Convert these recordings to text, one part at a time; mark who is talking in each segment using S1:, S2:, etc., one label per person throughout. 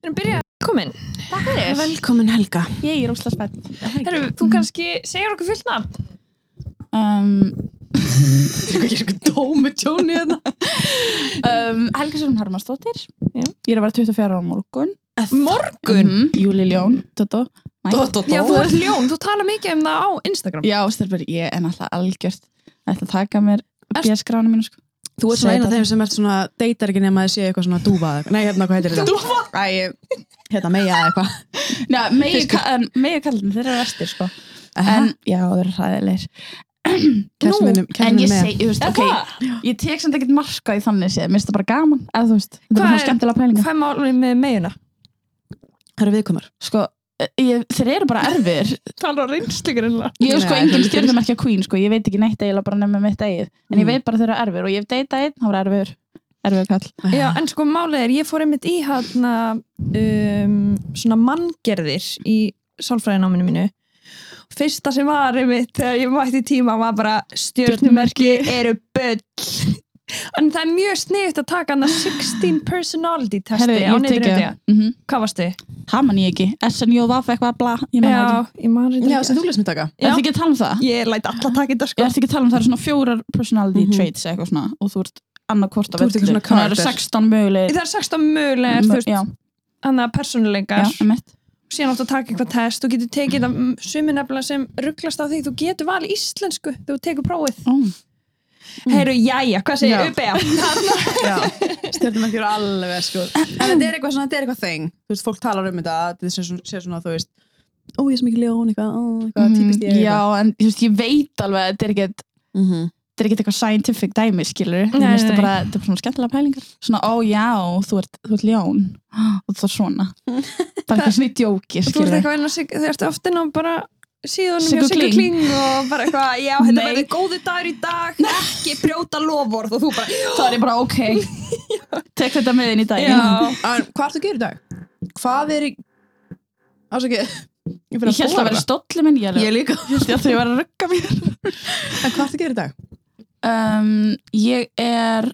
S1: Við erum byrjað velkomin.
S2: Takk fyrir.
S3: Velkomin Helga.
S2: Ég er óslega spennt.
S1: Herru, þú kannski segir okkur fullt nafn.
S2: Um,
S3: Ég er eitthvað dómi tjóni hérna.
S2: um, Helga Sjón Hermannsdóttir.
S1: Já.
S2: Ég er að vera 24 ára á morgun.
S1: Morgun.
S2: Mm, Júli Ljón, Tótó.
S3: Dó,
S1: Mhm. Já, þú ert ljón. Þú tala mikið um það á Instagram.
S2: Já, stelpur, ég er náttúrulega algjört. Þetta taka mér
S1: Ert-
S2: björskrána mínu sko.
S3: Þú ert svona eina af þeim sem ert svona, deytar ekki nema að sé eitthvað svona dúfað. Nei, hérna, hvað heitir þetta?
S1: Dúfa.
S3: Æ, ég- hérna, meja eða eitthvað.
S2: Já, megi kallin, þeir eru vestir sko. En, já, þeir eru hræðilegir.
S3: Kærastinn minn- kærastinn
S2: en ég
S3: minn er með.
S2: segi, þú veist,
S1: Er
S2: ok,
S1: það?
S2: ég tek samt ekkert marka í þannig séð, mér finnst það bara gaman, eða þú veist, þetta
S1: Hvað
S2: er svona
S1: er-
S2: skemmtilega pælinga.
S1: Hvað er málum með meina?
S3: Það eru viðkomar.
S2: Sko, ég, þeir eru bara erfir,
S1: Tala á reynslugurinnlega.
S2: Ég er
S3: Nei,
S2: sko
S3: það
S2: engin
S3: er
S2: stjörnumarkja queen sko, ég veit ekki neitt eiginlega bara nefnum mitt eigið en ég
S3: Mm.
S2: veit bara þeirra erfur og ég hef deytað einn, þá var erfur erfur kall.
S1: Já, en sko málið er, ég fór einmitt í hana um, svona manngerðir í sálfræðináminu mínu. Fyrsta sem var einmitt þegar ég mætti í tíma var bara stjörnumerki eru böll. En það er mjög sniðt að taka hann 16 personality testi á netröndja.
S2: mm -hmm.
S1: Hvað varstu?
S2: það man ég ekki, SNJVF eitthvað bla, ég man það
S1: Já, ég man reynda
S3: Já, sem þú lesst mér taka.
S2: ekki, ertu ekki að tala um það?
S1: Ég læt alla taka þetta
S2: Ég
S1: sko
S2: ertu ekki að tala um það eru svona fjórar personality
S3: Mhm.
S2: traits eitthvað svona og þú ert annarkvort af
S3: Þú ert ekki
S2: öllu.
S3: svona
S2: þannig að það eru
S3: character.
S2: 16 mögulegir
S1: Það er 16 mögulegar, þú veist,
S2: Mm, já,
S1: hann að
S2: já,
S1: persónuleikar
S2: emitt
S1: síðan áttu að taka eitthvað test, þú getur tekið það sumi nefnilega sem rugglast á því þú getur valið íslensku þegar þú tekur prófið
S2: oh. Mm.
S1: Heyru, jæja, hvað segir
S3: Já.
S1: UBA?
S3: Já, stjórnum ekki eru alveg, sko. En þetta er eitthvað svona, þetta er eitthvað þeng. Þú veist, fólk talar um þetta, þetta sé svona, sé svona þú veist, ó, ég er svo mikið ljón, eitthvað, ó, eitthvað, típist ég,
S2: Mhm. já, en þú veist, ég veit alveg að þetta er ekkert
S3: Mhm.
S2: þetta er ekkert eitthvað scientific dæmi, skilur
S1: Nei, nei,
S2: þetta
S1: nei.
S2: er bara, þetta er bara svona skemmtilega pælingar svona, ó já, þú ert, þú ert ljón og þú ert svona bara eitthvað svona í
S1: Þú
S2: djóki,
S1: ert
S2: skilur
S1: eitthvað inn á Sig- þú ert oft inn á bara síðanum hjá
S2: Siggu
S1: Siggu
S2: Kling.
S1: Kling og bara eitthvað, já, þetta
S2: Nei.
S1: verður góðu dagur í dag ekki brjóta lofvort og þú bara,
S2: þá er ég bara, ok tek þetta með inn í dag
S1: já
S3: En hvað ertu að gera í dag? Hvað er í... Ásakið, ég fyrir
S2: ég held að vera stólli minn, ég
S3: Ég líka.
S2: held að ég var að rugga mér
S3: En hvað ertu að gera í dag?
S2: um, ég er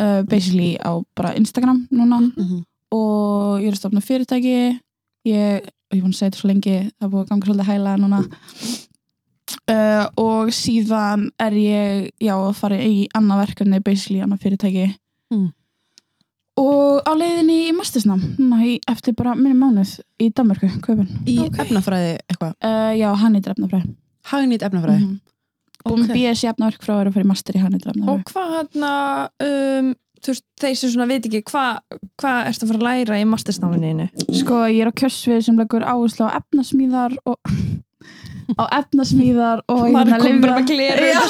S2: uh, basically á bara Instagram núna
S3: Mhm.
S2: og ég er að stofna fyrirtæki ég, og ég er búin að segja þetta svo lengi það er búin að ganga svolítið hæla núna uh, og síðan er ég já að fara í annað verkefni basically annað fyrirtæki
S1: Hmm.
S3: Mm.
S2: og á leiðinni í mastersnám núna í, eftir bara minni mánuð í Danmörku, Kaupin
S3: Í
S1: Ok.
S3: efnafræði eitthvað.
S2: uh, já, hann er drefnafræð
S3: Hagnýtt
S2: Mhm.
S3: efnafræði.
S2: búin með
S3: Ok.
S2: BS í efnaverk frá að vera að fara í master í hann er drefnafræð
S1: Og hvað hann um, þú veist, þeir sem svona veit ekki hvað hva ertu að fara að læra í mastersnáminniðinu?
S2: Sko, ég er á kjörsfið sem leggur áherslu á efnasmíðar og á efnasmíðar og hérna
S1: Maður kom bara
S2: lyfja-
S1: með gleru
S2: Já,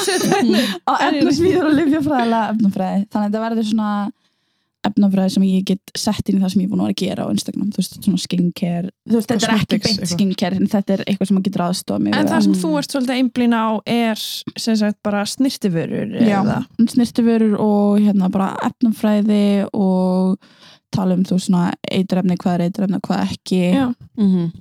S2: á
S1: Herri.
S2: efnasmíðar og lifjafræðilega efnafræði þannig að þetta verður svona efnafræði sem ég get sett inn í það sem ég er búin að vera að gera á Instagram, þú veist, svona skincare þú veist, þetta er ekki
S3: Cosmetics,
S2: beint
S3: eitthvað.
S2: skincare en þetta er eitthvað sem að getur aðstofa mig
S1: En
S2: við
S1: það
S2: að-
S1: sem þú ert svolítið einblín á er sem sagt bara snirtiförur
S2: Já.
S1: eða
S2: snirtivörur og hérna bara efnafræði og tala um þú veist, svona eitrefni, hvað er eitrefni og hvað ekki,
S1: Já.
S2: Mhm.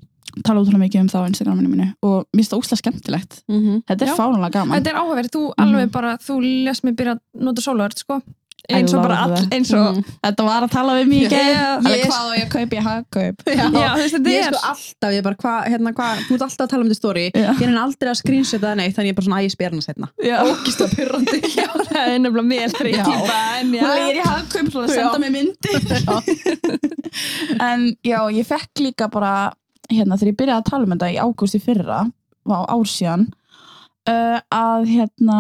S2: tala útrúlega mikið um það á Instagraminu mínu og mér finnst það óslega skemmtilegt Þetta
S1: Já.
S2: er fánulega gaman.
S1: Þetta er áhugaverð, þú
S2: Mhm.
S1: alveg bara þú lest mig byrja að nota sólaverð sko eins og
S2: love
S1: bara all,
S2: that.
S1: eins og
S2: Þetta var að tala við mig í
S1: Ég-
S2: gær. Alveg,
S3: ég-
S2: Hvað á ég að kaupa í hagkaup?
S1: Já, þú veist, þetta
S3: Ég er
S1: er
S3: sko alltaf, ég er bara, hvað, hérna, hvað, þú ert alltaf að tala um þetta story,
S2: Já.
S3: ég er henni aldrei að screenshota það neitt, þannig ég er bara svona, að ég spyr hana setna.
S2: Já.
S3: Ógist að pyrrandi.
S1: Já, það er nefnilega mér fyrir
S2: Já.
S1: típa en já,
S2: Hún er í hagkaup svo að senda mig myndi. en já, ég fekk líka bara, hérna, þegar ég byrjaði að tala um þetta í ágúst í fyrra, var ár síðan, uh, að hérna,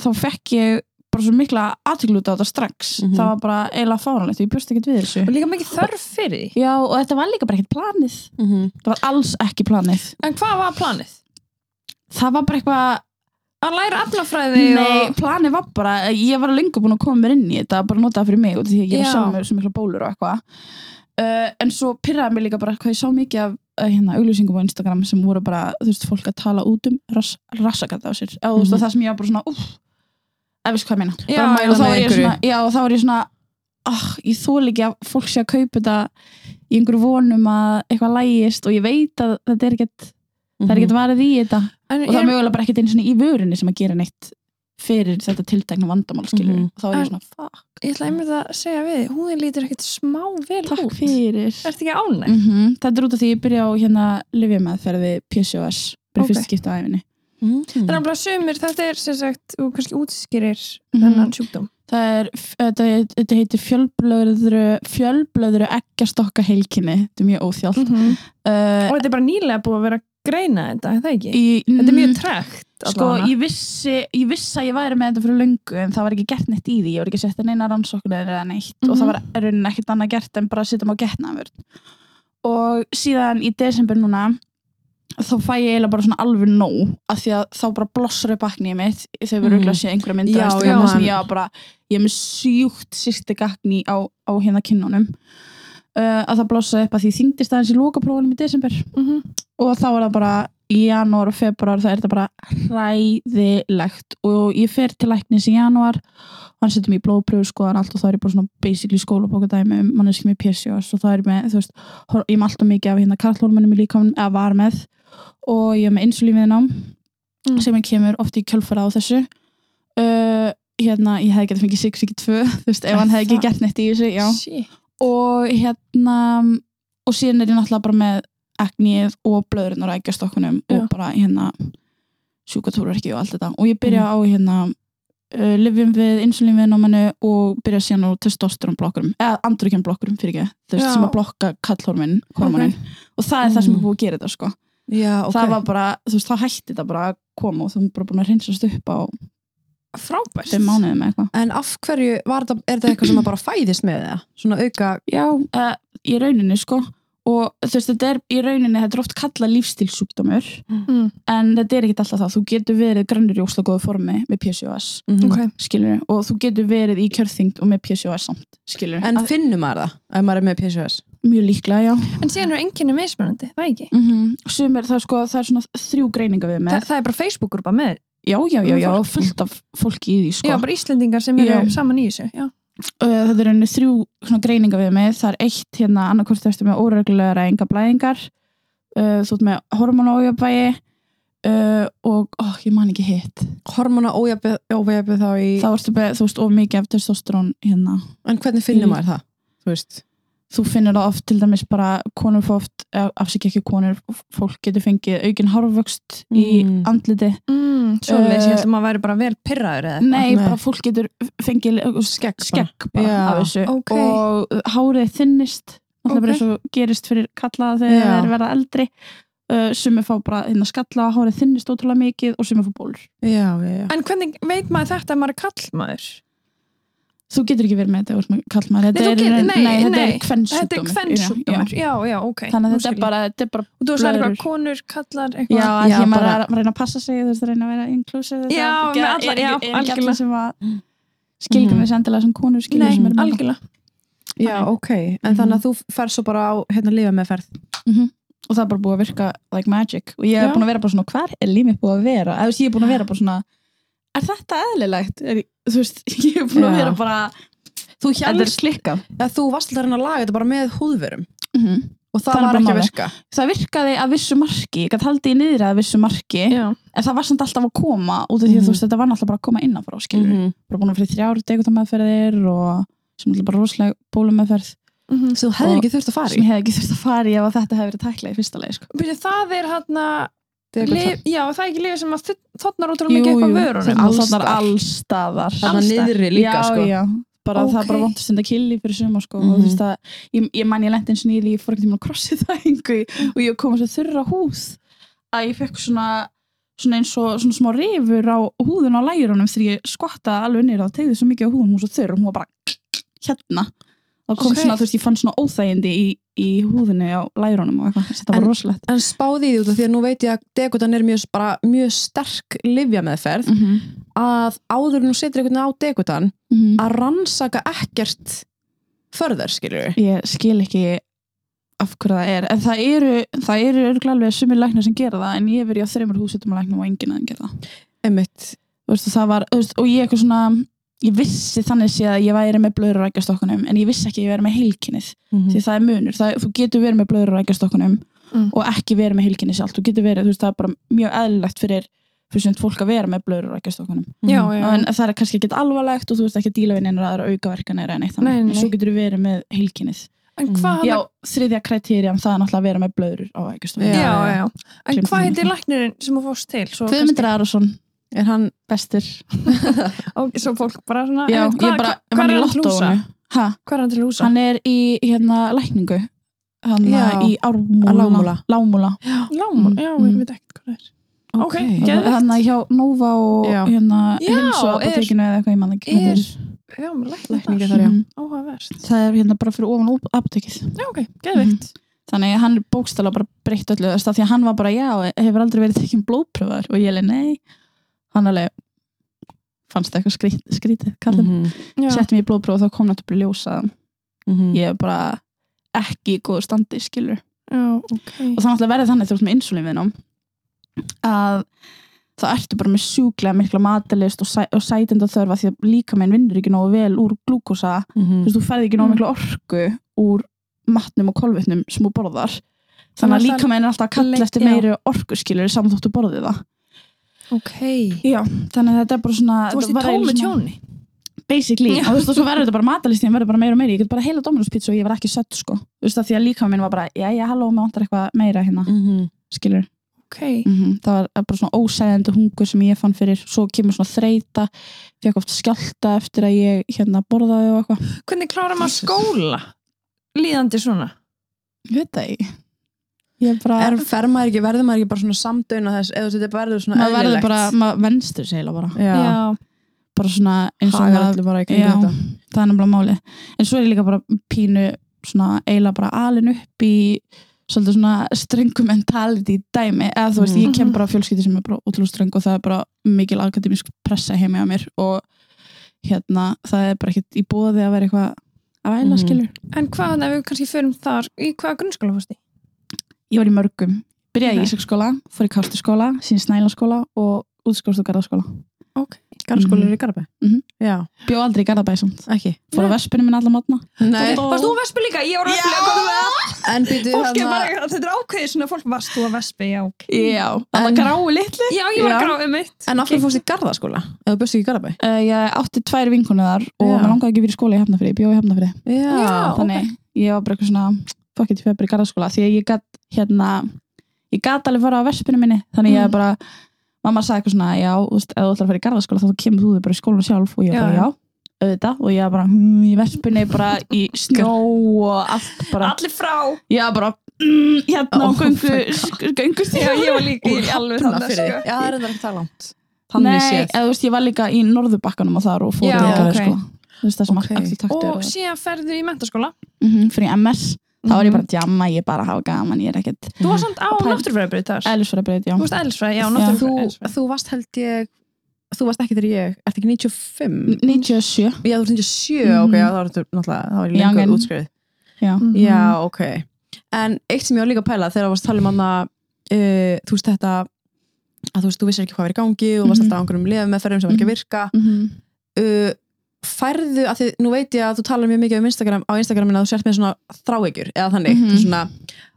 S2: þá fekk ég bara svo mikla aðtöklu út á þetta strax.
S3: Mhm.
S2: Það var bara eiginlega fánulegt, ég bjóst ekkert við þessu.
S1: og líka mikið þörf fyrir því
S2: Já, og þetta var líka bara ekkert planið. Það var alls ekki planið.
S1: En hvað var planið?
S2: Það var bara eitthvað
S1: Að læra aflafræði
S2: Nei,
S1: og
S2: planið var bara, ég var lengur búin að koma mér inn í þetta, bara nota það fyrir mig og því að ég
S1: Já.
S2: var sjálf mér svo mikla bólur og eitthvað uh, en svo pyrraði mér líka bara hvað ég sá mikið af uh, hérna, auglýsingum á Instagram sem voru bara, þú veist, fólk að tala út um rass, rassakata á sér, eða þú veist,
S3: Mhm.
S2: og það sem ég var bara svona, uff eða veist hvað ég meina
S1: Já,
S3: bara mæla
S2: og þá
S3: með
S2: var ég
S3: einhverju.
S2: svona, já, og þá var ég svona ah, ég þól ekki að fólk sé að kaupa þetta í einhverju vonum að eitthvað lægist og ég veit að þetta
S3: Mhm.
S2: er ekkert, það er ekkert varið í þetta
S1: en,
S2: og það er
S1: er,
S2: mögulega bara ekkert einu svona í vörunni sem að gera neitt fyrir þetta tiltekna vandamál skilur
S3: Mhm.
S2: þá er ég
S1: En-
S2: svona, fuck,
S1: Ég ætla einmitt að segja við, þig, húðin lítur ekkert smá vel
S2: takk
S1: út.
S2: fyrir
S1: Ertu ekki ánæg?
S2: mm þetta er út af því ég byrja á hérna livjameðferði PCOS bara
S1: Ok.
S2: okay. fyrst skipta á æfinni
S3: Mhm.
S1: Það er alveg sumir, þetta er sem sagt, þú kannski útskýrir
S2: Mhm.
S1: þennan sjúkdóm.
S2: það er, f- þetta, þetta heitir fjölblöðru fjölblöðru eggjastokka heilkinni þetta er
S1: Mhm.
S2: mjög óþjált uh,
S1: Og þetta er bara nýlega búið að vera að greina þetta, er það ekki?
S2: í,
S1: Þetta er mjög tregt
S2: Sko, ég vissi, ég vissi að ég væri með þetta fyrir löngu en það var ekki gert neitt í því, ég var ekki að setja neina rannsóknir eða neitt og
S3: Mhm.
S2: það var raunin ekkert annað gert en bara að setja mig á getnaðvörn og síðan í desember núna þá fæ ég eiginlega bara svona alveg nóg af því að þá bara blossar upp aknið mitt þegar við
S3: Mhm.
S2: röglega séð einhverja myndir
S3: Já,
S2: á
S3: já,
S2: Instagram þar sem
S3: en-
S2: ég var bara, ég er með sjúkt sýsti gakni á, á hérna kinnunum uh, að það blossaði upp að því þyngdist aðeins í lokaprófunum í desember
S3: Mhm.
S2: og þá var það bara í janúar og februar það er þetta bara hræðilegt og ég fer til læknis í janúar og hann setur mér í blóðpröfu skoðan allt og þá er ég bara svona basically skólabókadæmi um manneski með PCOS og þá er ég með, þú veist, hor- ég er með alltaf mikið af hérna karlhormonum í líkamann eða var með og ég er með insulínviðnám
S1: Mm.
S2: sem ég kemur oft í kjölfara á þessu uh, hérna, ég hefði getið fengið 6, ekki 2 þú veist, ef hann hefði ekki gert neitt í þessu, já
S1: Shit.
S2: og hérna og síðan er ég náttúrulega bara með agnið og blöðurinn og rækjastokkunum
S1: Já.
S2: og bara hérna sjúkatúrverki og allt þetta og
S1: Mm.
S2: ég byrja á hérna uh, livjum við insulinviðnámanu og byrja síðan á testosteronblokkurum eða andrukjumblokkurum fyrir ekki þú veist
S1: Já. Mm.
S2: sem að blokka kallhormin hormonin og það er það sem er búið að gera þetta sko
S3: Já, ok.
S2: það var bara, þú veist, það hætti þetta bara að koma og þú er bara búin að hreinsast upp á
S1: Frábært.
S2: þeim mánuðum eða eitthvað
S3: En af hverju, var það, er þetta eitthvað sem að bara fæðist með það? Svona auka,
S2: Já, uh, í rauninni sko og þú veist, þetta er í rauninni þetta er oft kallað lífstilsjúkdómur
S1: Mm.
S2: en þetta er ekkit alltaf það, þú getur verið grannur í ósla góðu formi með PCOS
S3: Mhm.
S1: Ok.
S2: skilur, og þú getur verið í kjörþyngd og með PCOS samt, skilur
S3: en finnum maður það, ef maður er með PCOS?
S2: mjög líklega, já
S1: En síðan eru enginni mismunandi, það ekki?
S2: mm sumir, það, er sko, það er svona þrjú greininga við
S1: Þa,
S2: með
S1: það er bara Facebook-grúpa með,
S2: já, já, já, já,
S1: Fólk.
S2: fullt af fólki í því sko.
S1: já, bara Íslendingar sem eru
S2: Já.
S1: saman í þessu. Já.
S2: uh, þetta er einu þrjú svona greininga við mig það er eitt hérna annarkvort eftir með óreglulega enga blæðingar uh, þú ert með hormonójöfægi uh, og ó, ég man ekki hitt
S3: Hormona ójafið þá í...
S2: þá ertu með, þú veist, of mikið af testosterón hérna,
S3: En hvernig finnum
S2: Í-
S3: maður það? Mhm. Þú veist,
S2: þú finnur það oft til dæmis bara konur fá oft, eh, afsikið ekki konur fólk getur fengið aukin hárvöxt í
S3: Mm.
S2: andliti
S1: Mm, Sjóðleis,
S2: eh,
S1: ég held að maður væri bara vel pirraður eða eitthvað.
S2: nei,
S3: nei.
S2: bara fólk getur fengið eh,
S3: skegg bara.
S2: skekk bara
S3: Já,
S2: af þessu
S1: ok.
S2: og hárið þynnist það
S1: Ok.
S2: bara eins og gerist fyrir kalla þegar
S3: Já.
S2: þeir verða eldri uh, sumi fá bara hérna skalla, hárið þynnist ótrúlega mikið og sumi fá bólur
S3: Já, já, já.
S1: En hvernig veit maður þetta að maður er kallmaður?
S2: þú getur ekki verið með þetta úr kallmaður
S1: Nei, þú
S2: þetta er,
S1: getur- nei,
S2: nei, þetta
S1: nei.
S2: er kvennsjúkdómur
S1: Þetta er kvennsjúkdómur,
S2: Já, já.
S1: já, já, ok.
S2: þannig að þetta er
S1: Nú skil ég.
S2: bara, þetta er bara
S1: Og þú veist það er
S2: blöðrur.
S1: eitthvað konur, kallar,
S2: Já,
S1: eitthvað.
S2: að
S3: já,
S2: því að maður
S3: bara-
S2: er að reyna að passa sig, þú veist, að reyna að vera inclusive það
S1: Já,
S2: er ekki-
S1: með alla-
S2: er ekki-
S1: já,
S2: er ekki
S1: algjörlega.
S2: allir sem að skilgjum
S3: Mhm.
S2: þessi endilega sem konur skilgjum
S1: Nei,
S2: sem er með
S1: algjörlega.
S3: Já, ok. En þannig að þú fer svo bara á, hérna, lifa með ferð.
S2: Mhm. og það er bara búið að virka like magic og ég er
S1: Já.
S2: búin að vera bara svona hvar er límið búið að vera eða þú veist, ég er búin að vera bara svona er þetta eðlilegt er, þú veist, ég er búin að
S3: Já.
S2: vera bara
S3: Þú
S2: þetta er
S3: hélst,
S2: slikka
S3: að þú varst alltaf að reyna að laga þetta bara með húðverum og það
S2: Mhm. Það er
S3: var
S2: bara
S3: ekki að
S2: málið.
S3: virka.
S2: það virkaði að vissu marki, ég gæti haldið í niður að vissu marki,
S1: Já.
S2: en það var samt alltaf að koma út af því að
S3: Mhm.
S2: þú veist, þetta var náttúrulega bara að koma innan frá skilur, bara búin að fyrir þrjáru degutamæðferðir og sem er bara rosalega bólumæðferð
S1: Mhm.
S3: Þú hefðir ekki þurft að fara
S2: sem
S3: í.
S2: ég hef ekki þurft að fara í ef að þetta hefði verið tæklað í fyrsta leið sko.
S1: Byrju, það er hann
S3: Þetta er eitthvað
S1: Lif, já, það er ekki lifið sem að þotnar ótrúlega mikið upp á vörunum.
S3: Alls
S2: allstaðar
S3: staðar.
S2: allstaðar
S3: Þarna niðri líka,
S2: já,
S3: sko.
S2: já. Bara, það er bara
S1: Ókei.
S2: vont að stunda killi fyrir suma sko. mm
S3: Mhm.
S2: -hmm. að, ég, ég man ég lendi eins og nýli ég fór ekki tíma að krossi það engu og ég kom að þurra húð að ég fekk svona, svona eins og svona smá rifur á húðun á lærunum þegar ég skvattaði alveg niður það tegði svo mikið á húðun hún var svo þurr og hún var bara hérna og kom
S1: Ókei.
S2: svona, þú veist, ég fann svona óþægindi í, í húðunni á lærunum og eitthvað, þetta var
S3: En-
S2: rosalegt
S3: En spáði í því út af því að nú veit ég að degutan er mjög, bara, mjög sterk livja
S2: mm -hmm.
S3: Mhm. að áður en þú setur einhvern veginn á degutan
S2: Mhm.
S3: að rannsaka ekkert förðar, skilur við.
S2: ég skil ekki af hverju það er, en það eru það eru örgulega alveg sumir læknar sem gera það en ég hef verið á þreymur húsutum að læknum og enginn að gera það,
S3: Einmitt.
S2: þú veist, og það var, þú veist, og ég eitthvað svona ég vissi þannig sé að ég væri með blöður og rækjastokkunum, en ég vissi ekki að ég væri með heilkinnið,
S3: Mhm.
S2: því það er munur, það, þú getur verið með blöður og rækjastokkunum
S1: Mm.
S2: og ekki verið með heilkinnið sjálf, þú getur verið, þú veist, það er bara mjög eðlilegt fyrir fyrir sumt fólk að vera með blöður og rækjastokkunum
S1: Já,
S3: Mhm.
S1: já.
S2: en það er kannski ekkert alvarlegt og þú ert ekki að díla við neinar aðra aukaverkanir en eitt þannig,
S1: Nei, nei,
S2: en svo
S1: nei.
S2: getur þú verið með heilkinnið
S1: En hvað
S2: já, þriðja kriterjum, það er náttúrulega að vera með blöður á
S1: já,
S2: rækjastokkunum
S1: já, já. En
S2: Gleymdi
S1: hvað
S2: því.
S1: heitir læknirinn sem þú fórst til? Svo,
S2: Guðmundur Arason,
S3: Er hann,
S2: bestur
S1: kannski- Ó, svo fólk bara svona,
S2: já,
S1: en
S2: ég bara,
S1: hvað
S2: hann
S1: er
S2: í
S1: hann til húsa?
S2: lottóinu. Ha,
S1: Hvað er hann til húsa?
S2: hann er í hérna lækningu hann
S3: Já.
S2: í ármúla
S3: Lágmúla.
S2: lágmúla.
S1: Lámur, já,
S2: Mm.
S1: ég veit ekkert hvað það er. Ok, geðveikt.
S2: hann er hjá Nova og
S3: Já.
S2: hérna
S1: Já,
S2: hilsu apotekinu eða eitthvað ég man ekki hvað
S1: er-
S2: það er.
S1: Já, með lækningar.
S3: Lækningar þar, já.
S2: Mhm.
S1: Áhugavert.
S2: það er hérna bara fyrir ofan op- apotekið
S1: Já, ok, geðvikt.
S2: þannig að hann er bókstala bara breytt öllu þess að því að hann var bara já, hefur aldrei verið tekinn blóðpröfar og ég leið nei hann alveg fannst það eitthvað skrít, skrítið kallum
S3: Mhm.
S2: mm
S1: Mhm. Já.
S2: sett mér í blóðpröf og þá kom náttúrulega ljósa
S3: -hmm.
S2: ég er bara ekki í góðu standi skilur
S1: já, ok.
S2: og það náttúrulega verði þannig þegar þú ert með insulínviðnám að þá ertu bara með sjúklega mikla matalist og, sæ, og sætinda þörfa því að líka minn vinnur ekki nógu vel úr glúkosa
S3: Mhm.
S2: þú veist, þú færði ekki nógu
S1: Mm.
S2: mikla orku úr matnum og kolvetnum sem þú borðar þannig
S1: Þannig að
S2: að líka minn er alltaf að
S1: Le-
S2: kalla eftir
S1: já.
S2: meiri orku skilur saman þóttu borðið það
S1: Ok.
S2: já. þannig að þetta er bara svona
S1: Þú varst í
S2: þetta var
S1: tómu
S2: eiginlega svona-
S1: tjóni.
S2: basically, og þú veist, og svo verður þetta bara matalistin verður bara meira og meira, ég get bara heila Dominos pizza og ég var ekki sött sko, þú veist, að því að líka minn var bara já, já, halló, mér vantar eitthvað meira hérna,
S3: Mm. Mhm.
S2: skilur
S1: Ok.
S2: mm það var bara svona ósæðandi hungur sem ég fann fyrir, svo kemur svona þreita fekk oft skjálta eftir að ég hérna borðaði og eitthvað
S1: Hvernig klára maður
S3: Jesus.
S1: skóla? Líðandi svona.
S2: veit það ekki ég bara,
S3: Er, fer maður ekki, verður maður ekki bara svona samdöun á þess, eða þetta verður svona
S2: maður verður
S3: eðlilegt?
S2: bara maður venstur segla bara,
S3: Já,
S2: bara svona eins og
S3: hagar
S2: maður,
S3: allir bara ekki
S2: já, það er nefnilega málið en svo er ég líka bara pínu svona eiginlega bara alin upp í svolítið svona strengu mentality dæmi, eða þú veist, ég
S3: Mhm.
S2: kem bara á fjölskyldi sem er bara ótrúlega streng og það er bara mikil akademisk pressa heimi á mér og hérna, það er bara ekkert í bóði að vera eitthvað að væla,
S3: Mhm.
S2: skilur
S1: En hvað, ef við kannski förum þar, í hvaða grunnskóla fórst í?
S2: ég var í mörgum, byrjaði
S1: Ok.
S2: í Ísaksskóla fór í Kartuskóla, síðan Snælaskóla og útskóðst og Garðaskóla
S1: Ok.
S3: Garðskóli er í Garabæ?
S2: Mhm.
S3: Já,
S2: bjó aldrei í Garðabæ samt,
S3: ekki
S2: fór á vespinu minn alla matna
S3: Nei,
S1: Varst þú að vespi líka? Ég var að vespi að koma með það.
S3: en býtu
S1: Fólk er
S3: þarna-
S1: bara, þetta er ákveðið svona fólk, varst þú að vespi, já. ok.
S2: já, alla
S3: En-
S2: grái litli
S1: Já, ég var að
S3: Já.
S1: gráðið mitt.
S3: En af hverju fórst í Garðaskóla? Eða bjóst ekki í Garabæ?
S2: uh, ég átti tvær vinkonu þar og
S3: Já.
S2: mér langaði ekki verið í skóla í Hafnafriði, bjó í Hafnafriði
S1: Já.
S2: þannig ég var bara eitthvað svona fuck it, ég fer bara í garðaskóla því að ég gat hérna, ég gat alveg fara á verspinu minni þannig ég
S1: Mm.
S2: bara, mamma sagði eitthvað svona já, þú veist, ef þú ætlar að fara í garðaskóla þá kemur þú þig bara í skólan sjálf og ég
S1: Já,
S2: bara
S1: já.
S2: já, auðvitað og ég bara hm, í verspinu bara í snjó og allt bara,
S1: Allir frá.
S2: ég bara mm, hérna
S3: Oh
S2: og göngu,
S3: my
S2: göngu
S1: Já, ég var líka í alveg þannig,
S3: Hafnarfirði.
S1: sko.
S3: Já, það er þetta ekki það langt
S2: Nei,
S3: Þannig séð
S2: eða þú veist, ég var líka í norðubakkanum og þar og fór
S1: Já,
S2: í
S1: ok.
S2: garðaskóla þú veist það sem
S3: Ok.
S2: okay. allir taktur
S1: Og síðan ferðu í mentaskóla.
S2: Mhm, fyrir MS, þá var ég bara að djamma, ég er bara að hafa gaman, ég er ekkert
S1: Þú var samt á
S2: Pæl-
S1: náttúrufræðabraut þar.
S2: eðlisfærabreyt, já
S1: Þú veist eðlisfræði, já,
S3: þú,
S1: náttúrufræði.
S3: þú varst held ég Þú varst ekki þegar ég, ert ekki 95?
S2: 97
S3: Já, þú ert 97,
S2: Mhm.
S3: ok, já, það var þetta náttúrulega, það var ég
S2: Young
S3: lengur
S2: and- Mm.
S3: útskriðið
S2: já.
S3: Já, ok En eitt sem ég var líka að pæla þegar þú varst að tala um hana uh, Þú veist þetta að þú veist, þú vissir ekki hvað verið í gangi og varst
S2: Mhm.
S3: alltaf á einhverjum liðum með ferðum sem var ekki að virka uh, færðu að þið, nú veit ég að þú talar mjög mikið um Instagram, á Instagraminu að þú sért með svona þráegjur eða þannig,
S2: Mhm.
S3: mm svona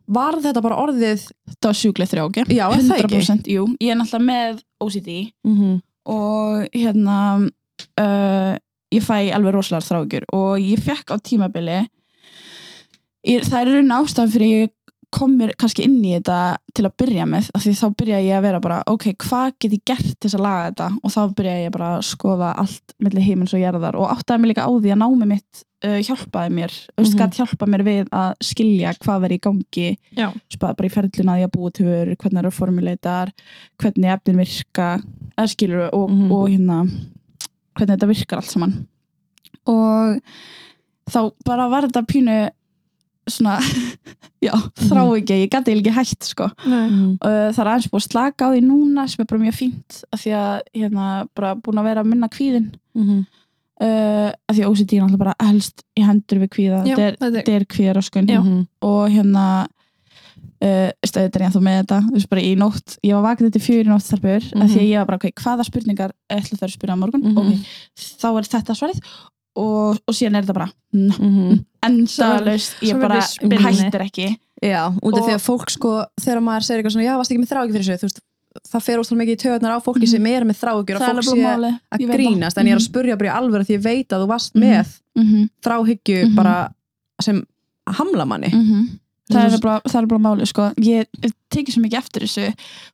S3: var þetta bara orðið,
S2: þetta var sjúklega þrjá, ok?
S3: já, er það ekki
S2: 100% jú, ég er náttúrulega með OCD
S3: mm -hmm.
S2: og hérna uh, ég fæ alveg rosalega þrákjur og ég fekk á tímabili ég, það er raun ástæðan fyrir ég kom mér kannski inn í þetta til að byrja með, af því þá byrja ég að vera bara ok, hvað get ég gert til þess að laga þetta og þá byrja ég bara að skoða allt millir heimins og jarðar og áttaði mig líka á því að námi mitt uh, hjálpaði mér mm
S3: Mhm.
S2: -hmm. gætt hjálpa mér við að skilja hvað veri í gangi
S1: Já.
S2: spara bara í ferlina að ég að búa til vörur, hvernig það eru formuleitar, hvernig efnin virka, eða skilur og,
S3: Mhm.
S2: og hérna, hvernig þetta virkar allt saman. Og þá bara var þetta pínu svona, já,
S1: Mhm.
S2: þrá ekki, ég gæti ekki hægt, sko.
S1: Nei.
S2: Uh, það er aðeins búið að slaka á því núna sem er bara mjög fínt, af því að hérna, bara búin að vera að minna kvíðin, Mhm. uh, af því að OCD er náttúrulega bara helst í hendur við kvíða,
S1: Já,
S2: þetta er,
S1: þetta er-
S2: þetta er kvíðaraskun
S1: Já.
S2: og hérna uh, stöðið er ég ennþá með þetta þú veist bara í nótt, ég var vakið þetta fjögur í nótt þarpur mm
S3: Mhm.
S2: því að ég var bara, ok, hvaða spurningar ætla það að spyrja á morgun,
S3: Mhm.
S2: ok þá er þetta svarið og, og síðan er þetta bara mm, endalaust,
S1: svo
S2: ég
S1: verður
S2: bara
S1: spinni.
S2: hættir ekki
S3: já, út af því
S2: Og-
S3: að fólk sko þegar maður segir eitthvað svona, já, varst ekki með þráegjur fyrir þessu þú veist, það fer óstáð mikið í töðunar á fólki
S2: Mhm.
S3: sem er með þráhugjur að
S2: það er
S3: fólk
S2: alveg
S3: sé
S2: máli
S3: að grínast en ég er að spurja bara í alveg því ég veit að þú varst
S2: Mhm.
S3: með
S2: spyrja
S3: þráhyggju
S2: Mhm.
S3: bara sem hamla manni
S2: það er bara, það er bara máli sko. ég tekið svo mikið eftir þessu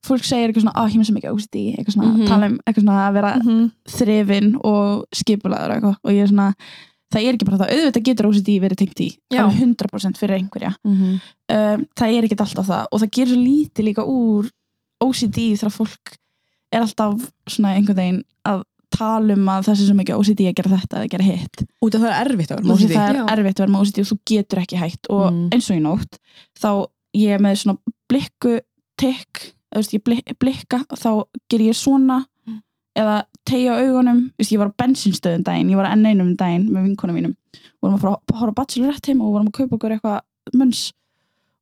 S2: fólk segir eitthvað svona, að ég með svo mikið OCD eitthvað svona,
S3: Mhm.
S2: tala um eitthvað svona að vera
S1: Mhm.
S2: þrefin og skipulaður og eitthvað og ég er svona, það er ekki bara það auðvitað getur OCD verið tengt í
S1: Já.
S2: alveg 100% fyrir einhverja
S3: Mhm.
S2: um, það er ekkert alltaf það og það gerir svo lítið líka úr OCD þegar fólk er alltaf svona einhvern veginn að tala um að það sé svo mikið OCD að gera þetta eða gera hitt
S3: út af það er erfitt að vera
S2: og
S3: mútið
S2: því það er
S1: já.
S2: erfitt að vera með OCD og þú getur ekki hægt og
S3: Mm.
S2: eins og í nótt þá ég er með svona blikku tek, þú veist ég blik, blikka og þá ger ég svona
S3: Mm.
S2: eða tegja augunum, þú veist ég var á bensinstöðum daginn, ég var á N1 um daginn með vinkonum mínum, vorum að fara að horfa á bachelorett heim og vorum að kaupa okkur eitthvað mönns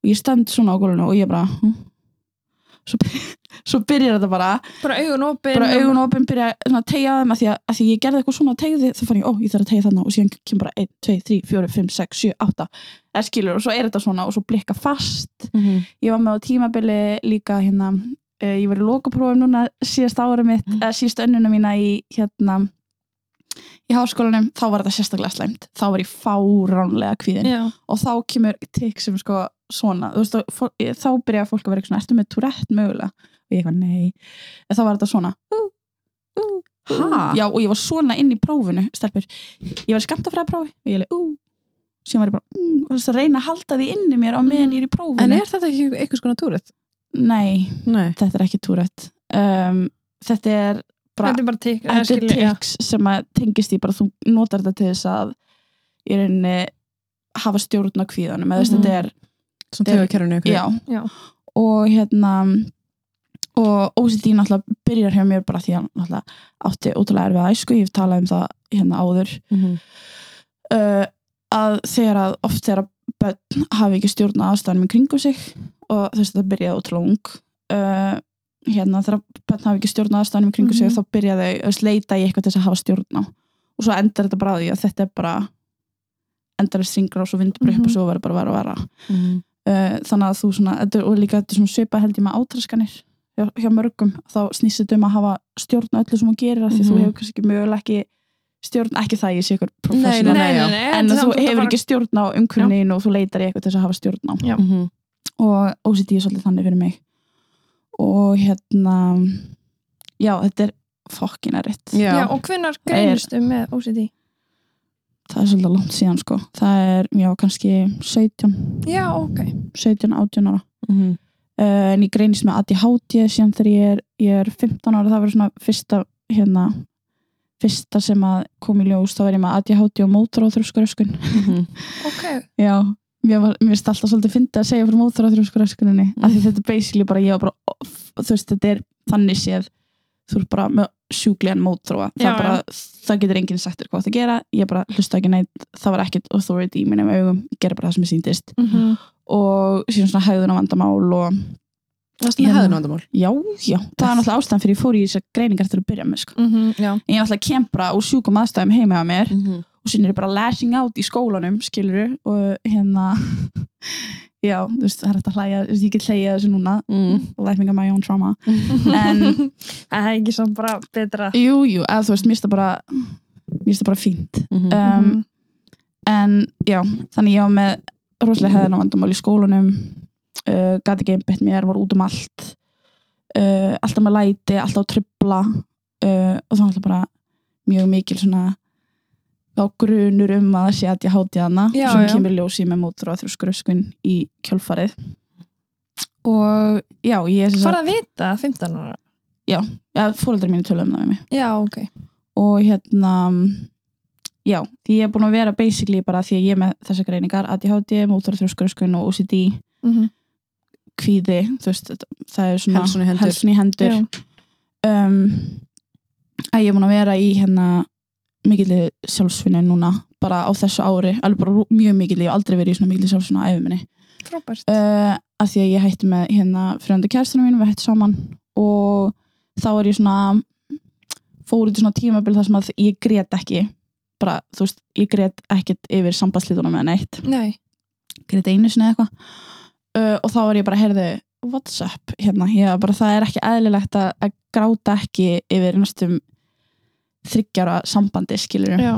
S2: og ég stend svona á gólunum og ég bara hm. svo, by- svo byrjar þetta bara
S1: bara augun opin
S2: bara augun opinn byrja svona að tegja þeim að því að, að því ég gerði eitthvað svona að tegja þið þá fann ég, ó, ég þarf að tegja þarna og síðan kemur bara 1, 2, 3, 4, 5, 6, 7, 8 eða skilur og svo er þetta svona og svo blikka fast
S3: Mhm.
S2: ég var með á tímabili líka hérna eh, ég var í lokaprófum núna síðast ára mitt
S3: Mm.
S2: eða síðast önnuna mína í hérna í háskólanum, þá var þetta sérstaklega slæmt þá var ég fáránlega kvíðin
S1: já,
S2: og þá kemur tikk sem er sko svona, þú veist, þá- fó- þá byrja fólk að vera eitthvað svona, ertu með Tourette mögulega og ég eitthvað, nei, en þá var þetta svona
S3: Ha?
S2: já, og ég var svona inn í prófinu, stelpur ég var skamt að fræða prófi, og ég leið, ú síðan var ég bara, ú, og þú veist, að reyna að halda því inni í mér á
S1: Mm.
S2: meðan ég er í prófinu
S3: en er þetta ekki einhvers konar túrið?
S2: nei,
S3: nei
S2: þetta er ekki Tourette um, þetta er bara
S1: þetta er bara tikk eða
S2: þetta er
S1: skilur, já.
S2: tics sem að tengist í bara þú notar þetta til þess að í rauninni hafa stjórn á kvíðanum, eða þú veist,
S1: Mhm.
S2: þetta er
S3: svona tögakerfinu
S2: já.
S1: Já.
S2: og hérna og OCD náttúrulega byrjar hjá mér bara því að náttúrulega átti ótrúlega erfið æsku, ég hef talað um það hérna áður
S3: Mhm.
S2: uh, að þegar að oft þegar að börn hafi ekki stjórna aðstæðanum í kringum sig og þess að það byrjaði ótrúlega ung uh, hérna þegar að börn hafi ekki stjórna aðstæðanum í kringum sig
S1: Mhm.
S2: þá byrjaði að sleita í eitthvað til þess að hafa stjórna og svo endar þetta bara á því að þetta er bara endar þess ringra og svo vindur bara upp
S1: Mhm.
S2: og svo verður bara að vera að vera
S3: Mhm.
S2: uh, þannig að þú svona, þetta er, og líka þetta er svona svipa held ég með átraskanir hjá, hjá mörgum, þá snýst þetta um að hafa stjórn á öllu sem hún gerir af því
S3: Mhm.
S2: þú hefur kannski ekki mögulega ekki stjórn, ekki það ég sé ykkur
S3: Nei,
S2: professional,
S3: nei, já.
S2: en
S1: þetta er
S2: að þú
S1: samt
S2: hefur
S1: bara-
S2: ekki stjórn á umkvörnin og þú leitar í eitthvað til þess að hafa stjórn á
S3: Mhm.
S2: og OCD er svolítið þannig fyrir mig og hérna já, þetta er fokkin erriðt
S3: já
S1: já, og hvenær greinistu með OCD
S2: það er svolítið langt síðan sko það er, já, kannski 17
S1: já, ok
S2: 17, 18 ára
S3: Mhm.
S2: uh, en ég greinist með ADHD síðan þegar ég er, ég er 15 ára það var svona fyrsta hérna, fyrsta sem að kom í ljós þá var ég með ADHD og mótoróþrjóskuröskun
S1: ok,
S2: já, mér var, mér finnst alltaf svolítið fyndið að segja frá mótoróþrjóskuröskuninni mm. af því þetta er basically bara, ég var bara off, þú veist, þetta er þannig séð þú ert bara með sjúklegan mótróa það,
S1: Já,
S2: er bara, það getur enginn sagt þér hvað það gera ég bara hlusta ekki neitt, það var ekkit authority í mínum augum, ég gera bara það sem ég síndist
S1: Mm.
S2: og síðan svona hæðuna vandamál og
S3: það er svona
S2: Hérna.
S3: hefðinu vandamál
S2: Já, já, það er náttúrulega ástæðan fyrir ég fór í þessar greiningar til að byrja með sko.
S1: Mhm, já
S2: En ég náttúrulega kem bara úr sjúkum aðstæðum heima á mér
S3: Mhm.
S2: og síðan er ég bara lashing out í skólanum, skilur og hérna já, þú veist, það er hægt að hlæja þú veist, ég get hlæja þessu núna,
S3: Mhm.
S2: laughing at my own trauma en,
S1: en það er ekki samt bara betra
S2: jú, jú, eða þú veist, mér finnst það bara mér finnst það bara fínt
S3: Eh,
S2: um,
S1: Mhm.
S2: en já, þannig ég var með rosalega hefðan á vandamál í skólanum uh, gati ekki einbett mér, var út um allt uh, alltaf með læti alltaf að tripla uh, og þá alltaf bara mjög mikil svona þá grunur um að það sé að ég háti hana
S1: Já,
S2: sem
S1: já.
S2: kemur ljósið með mótur og þrjóskuröskun í kjölfarið og já, ég
S1: Hvað er að vita 15 ára?
S2: fóreldri mínu tölum um það með mig
S1: Já, ok.
S2: og hérna já, því ég er búin að vera basically bara því að ég er með þessa greiningar ADHD, mótorþrjóskuröskun og OCD Mhm. kvíði, þú veist, þetta- það er svona
S3: Helsun í hendur.
S2: helsun í hendur. Um, að ég er búin að vera í hérna mikilli sjálfsvinni núna bara á þessu ári, alveg bara rú- mjög mikilli ég hef aldrei verið í svona mikilli sjálfsvinni á æfuminni
S1: Frábært.
S2: uh, að því að ég hætti með hérna fröndu kærstinu mínu, við hætti saman og þá er ég svona fór út í svona tímabil þar sem að ég grét ekki bara, þú veist, ég grét ekkert yfir sambandslítunum með neitt
S1: Nei.
S2: grét einu sinni eða eitthvað uh, og þá var ég bara, heyrðu, Whatsapp hérna, ég var bara það er ekki eðlilegt að, að gráta ekki yfir næstum þryggjara sambandi skilur
S1: já,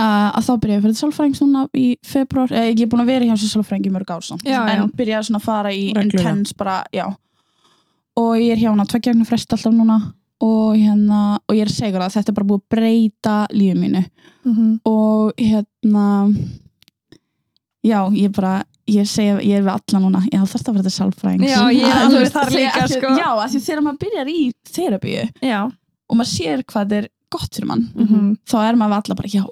S2: Eh, að þá byrjaði ég að fyrir sálfræðing svona í februar, eða ég er búin að vera hjá þessu sálfræðing í mörg ár samt,
S1: Já, já.
S2: en byrjaði svona að fara í
S3: Reglulega.
S2: intense bara, já og ég er hjá hana tveggjagnu frest alltaf núna og hérna, og ég er segur að þetta er bara búið að breyta lífið mínu
S1: mhm,
S2: og hérna já, ég bara ég segja, ég er við alla núna já, þarf það að vera þetta sálfræðing
S1: Já, ég er
S2: Að,
S1: alveg
S2: þú veist,
S1: þar
S2: því
S1: líka,
S2: að-
S1: sko.
S2: já, af því þegar maður byrjar í þerabíu
S1: já,
S2: og maður sér hvað þetta er gott fyrir mann
S1: mhm,
S2: þá er maður allar bara, já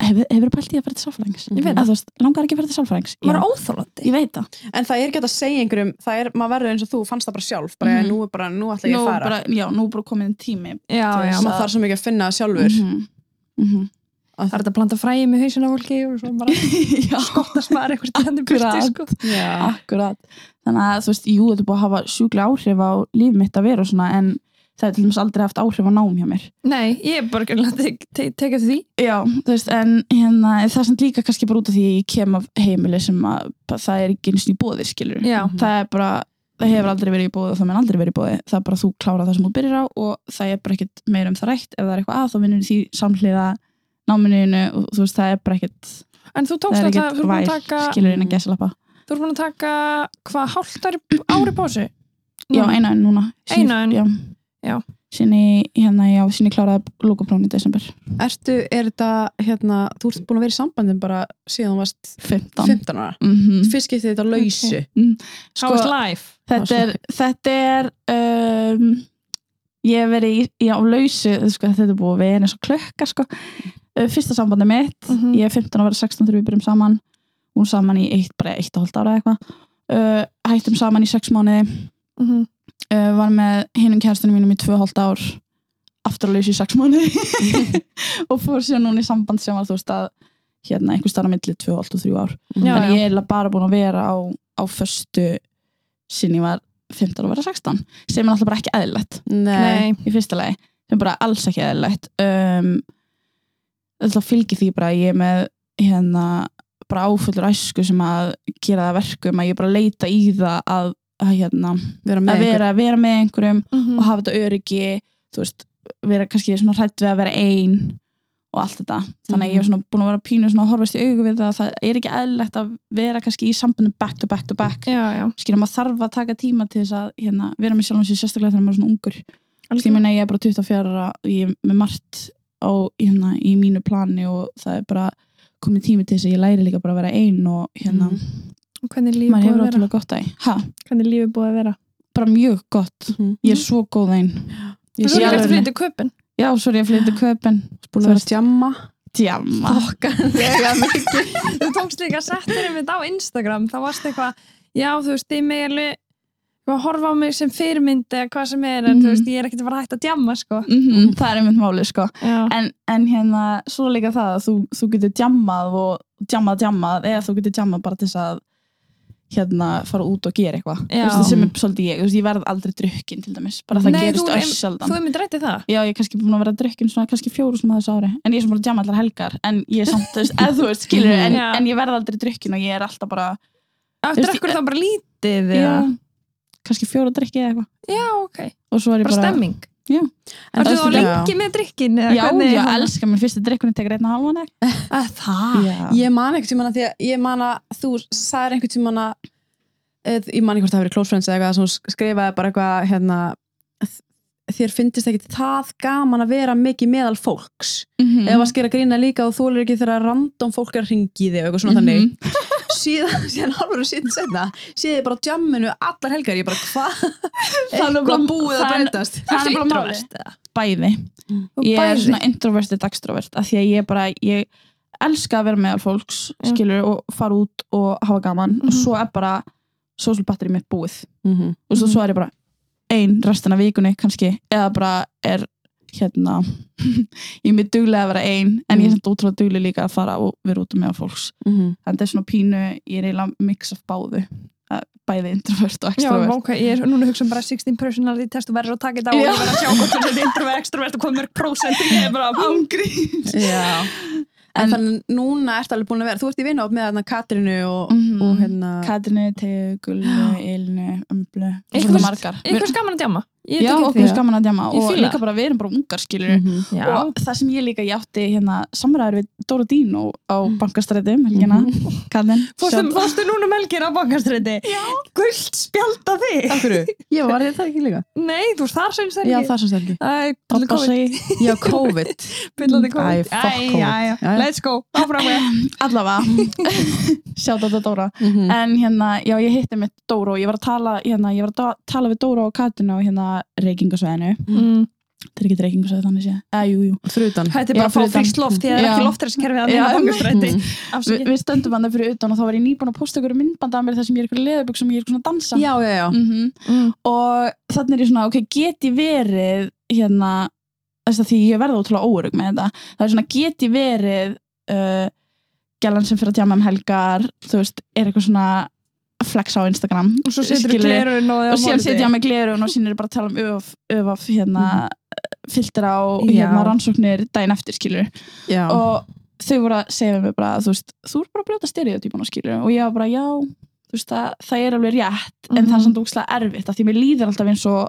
S2: hefur, hefur pælt í að fara til sálfræðings
S3: Ég veit
S2: Eða þú veist, langar ekki að fara til sálfræðings
S1: maður er
S2: Já.
S1: óþólandi
S2: ég veit það
S3: En það er ekki hægt að segja einhverjum, það er, maður verður eins og þú fannst það bara sjálf, bara
S2: Mhm.
S3: nú er bara, nú ætla ég
S2: nú
S3: að fara.
S2: bara, já, nú er bara komin tími
S1: já, já,
S3: maður
S2: að-
S3: þarf Mhm. svo mikið að finna það sjálfur.
S2: -hmm. Mm -hmm.
S1: það er þetta að planta fræði með hausina á fólki og svo bara
S2: já,
S1: skottast maður eitthvað til hendur byrti, sko
S3: Já.
S2: akkurat þannig að þú veist, jú, þetta er búið að hafa sjúklega áhrif á líf mitt að vera og svona en það er til dæmis aldrei haft áhrif á nám hjá mér
S1: nei, ég er bara grunlega að te- te- tekja eftir því
S2: Já, þú veist, en hérna, það sem líka kannski bara út af því að ég kem af heimili sem að það er ekki eins og í bóðir, skilur.
S1: Já.
S2: Það er bara, það hefur aldrei verið í bóði og það mun aldrei verið í bóði. Það er bara þú klára það sem þú byrjar á og það er bara ekkert meira um það rætt. Ef það er eitthvað að þá vinnur því samhliða náminuðinu og þú veist, það er bara ekkert,
S1: en þú
S2: það
S1: tókst
S2: er
S1: alltaf,
S2: ekkert
S1: þú erum búin að taka
S2: væl, skilur innan gesalappa.
S1: þú erum búin að taka hvað, hálft ári, ári pásu
S2: Já, eina en núna.
S1: Mm.
S2: Síðan-
S1: Eina önn.
S2: Já.
S1: Já.
S2: Sinni, hérna, já, sinni kláraði lókaprófni í desember.
S3: Ertu, er þetta, hérna, þú ert búin að vera í sambandin bara síðan þú varst
S2: 15.
S3: 15 ára.
S2: Mm
S3: Fyrst getið þetta lausu.
S1: how is life
S2: Þetta er, þetta er um, ég hef verið í, í á lausu, sko, þetta er búið að vera eins og klökka, sko. Uh, Fyrsta sambandi mitt,
S1: Mhm.
S2: ég er 15 að vera 16 þegar við byrjum saman, hún saman í eitt, bara eitt og hálft ára eða eitthvað. Uh, hættum saman í sex mánuði,
S1: Mhm.
S2: uh, var með hinum kærstunum mínum í tvö og hálft ár, aftur að lausu í sex mánuði
S1: Mhm.
S2: og fór sér núna í samband sem var, þú veist, að hérna, einhver starf á milli tvö og hálft og þrjú ár
S1: Já,
S2: en ég er eiginlega bara búin að vera á, á föstu sinni var 15 og vera 16 sem er alltaf bara ekki eðlilegt
S1: Eh, nei,
S3: Nei.
S2: í fyrsta lagi, sem er bara alls ekki eðlilegt um, alltaf fylgir því bara að ég er með hérna, bara áfullur æsku sem að gera það að verkum að ég er bara að leita í það að, að, hérna,
S3: Vera með
S2: að
S3: einhver.
S2: vera, vera með einhverjum og
S1: Mhm.
S2: hafa þetta öryggi þú veist, vera kannski svona hrætt við að vera ein og allt þetta þannig að ég er
S1: Mhm.
S2: svona búin að vera pínu svona að horfast í augu við það að það er ekki eðlilegt að vera kannski í sambunum back to back to back
S1: já, já
S2: skilja maður þarf að taka tíma til þess að hérna, vera með sjálfum sér sérstaklega þegar maður er svona ungur því minna ég er bara 24 ára og ég er með margt á, hérna, í mínu plani og það er bara komið tími til þess að ég læri líka bara að vera ein og hérna,
S1: Og hvernig Mhm. er lífið
S2: maður
S1: búið
S2: hefur
S1: að vera
S2: ótrúlega gott að ha,
S1: hvernig er lífið búið að vera
S2: bara mjög gott
S3: Mhm.
S2: ég er svo góð ein
S1: Þú
S2: sé
S1: erum ekki
S2: alveg-
S1: eftir flytið köpun
S2: Já, svo er ég að flytja köpinn
S3: Búin að vera að djamma.
S2: djama
S1: Þegar mikið. Þú tókst líka settirinn mitt á Instagram þá varst eitthvað, já þú veist ég mig alveg að horfa á mig sem fyrirmynd eða hvað sem er, en
S2: Mhm.
S1: þú veist ég er ekkert að fara hægt að djamma sko
S2: mm Það er einmitt máli sko
S1: Já,
S2: en, en hérna, svo er líka það að þú, þú getur djamað og djamað, djamað eða þú getur djamað bara til þess að hérna, fara út og gera eitthvað
S1: Já.
S2: Þú veist, það sem er svolítið ég, þú veist, ég verð aldrei drukkin til dæmis, bara það
S1: Nei,
S2: gerist
S1: þú-
S2: öss
S1: þú
S2: sjaldan
S1: er mynd rættið það
S2: Já, ég er kannski búin að vera drukkin svona kannski fjóru sem þessu ári en ég er sem bara að djama allar helgar en ég er samt, þú veist, eða þú veist, skilur en,
S1: Já.
S2: en ég verð aldrei drukkin og ég er alltaf bara Þú
S1: Eftir
S2: veist,
S1: ekkur þá bara lítið eða?
S2: já, kannski fjóru drukki eða eitthvað
S1: já, ok,
S2: og svo er ég
S1: bara
S2: bara
S1: stemming
S3: En
S1: Ertu
S3: það
S1: þá
S3: er
S1: lengi með drikkin?
S2: Já, ég elska minn fyrsti drikkunni tekur einn og halvan ekki.
S1: Það?
S3: Ég man einhvern tímann að því að ég man að þú sagðir einhvern tímann að eð- ég man ekki hvort það hafi verið close friends eða eitthvað sem þú skrifaði bara eitthvað hérna þ- þér finnist ekki það gaman að vera mikið meðal fólks
S2: Mhm.
S3: eða varst að gera grína líka og þólir ekki þegar random fólk er að ringi þig og eitthvað svona
S2: Mhm.
S3: þannig síðan, síðan hálfur og síðan setna séð ég bara á jamminu allar helgar ég bara hvað, eitthvað
S2: bara-
S3: búið að
S2: það er-
S3: breytast
S2: það er bara málið. Bæði. Ég er svona introvert og extrovert af því að ég bara, ég elska að vera meðal fólks,
S1: Já.
S2: skilur, og fara út og hafa gaman og
S1: Mhm.
S2: svo er bara social battery mitt búið.
S3: Mhm.
S2: Og svo,
S1: Mhm.
S2: svo er ég bara ein restina af vikunni kannski, eða bara er hérna, ég er mér duglega að vera ein, en ég er
S3: Mhm.
S2: samt ótrúlega duglega líka að fara og vera út meðal fólks.
S3: Mhm.
S2: Þannig að þetta er svona pínu, ég er eiginlega mix af báðu, Að bæði introvert og
S1: Já,
S2: extrovert.
S1: ok, ég er núna að hugsa um bara 16 personality test og verður að taka þetta á og ég
S2: Já. Mm.
S1: verður að sjá hvort þú er introvert, extrovert og hvað mörg prósent ég er bara
S2: ángríns
S3: Já. en,
S2: En-
S3: þannig núna ertu alveg búin að vera þú ert í vinna með hérna Katrinu og,
S2: Mhm.
S3: og hérna
S2: Katrinu, Tegu, Gullu, Ilnu, Umblu og
S1: Einhver-
S2: svona margar
S1: Einhvers gaman að djama Ég
S2: Já,
S1: tek eftir
S2: okkur er
S1: því.
S2: gaman að
S1: Ég
S2: djama og
S1: fíla
S2: líka
S1: það. Mm.
S2: bara, við erum bara ungar skilur
S3: Mhm.
S1: Já,
S2: og það sem ég líka ég átti hérna samræður við Dóra Dínó á bankastrætum helgina, mm -hmm. Karin
S1: Mm. Mm-hmm. Fórstu, fórstu núna melgir á bankastræti Já Gullt spjálta þig
S3: Af hverju? Ég var þetta ekki líka
S1: Nei, þú veist þar sem sér
S3: Já, það svo stelgi
S1: Æ,
S2: Pappa
S1: COVID,
S2: segi
S3: Já, COVID
S1: billandi
S3: Æ,
S1: COVID
S3: fuck
S1: æ,
S3: COVID. Jæja.
S1: Let's go, áfram með
S2: allavega sjátt þetta Dóra
S3: Mhm.
S2: en hérna, já ég hitti mitt Dóra og ég var að tala hérna, ég var að ta- tala við Dóra og Karin á hérna reykingasvæðinu
S1: mm.
S2: þetta er ekki reykingasvæði þannig sé eh, jú, jú.
S3: Fyrir utan Mhm.
S1: Þetta er bara
S2: Já,
S1: að fá
S2: fyrir utan.
S1: fríst loft Því það er
S2: Já.
S1: ekki loftræðskerfið að
S2: Já,
S1: nýja
S2: einmitt.
S1: bankastræti
S2: Vi,
S1: Afsakið
S2: við stöndum hann fyrir utan og þá var ég nýbúin að posta ykkur myndband af mér þar sem ég er ykkur leðuböksum og ég er svona að dansa
S3: Já, já, já
S2: Mhm.
S1: Mm.
S2: og þannig er ég svona, ok, get ég verið hérna, þess að því ég verða ótrúlega óörug með þetta, það er svona get ég verið uh, gælan sem fyrir að tjáma um helgar, þú veist er eitthvað svona flex á Instagram
S1: Og svo setur
S2: skilurðu,
S1: glerun og
S2: og síðan setja ég á mig glerun og síðan er bara að tala um öf, öf hérna, filtra og
S1: Mhm. Já.
S2: hérna, rannsóknir daginn eftir skilur
S3: Já,
S2: og þau voru að segja mér bara þú veist, þú er bara að brjóta stereotypun og skilur og ég var bara já, þú veist það, það er alveg rétt en það er samt ógslag erfitt af því mér líður alltaf eins og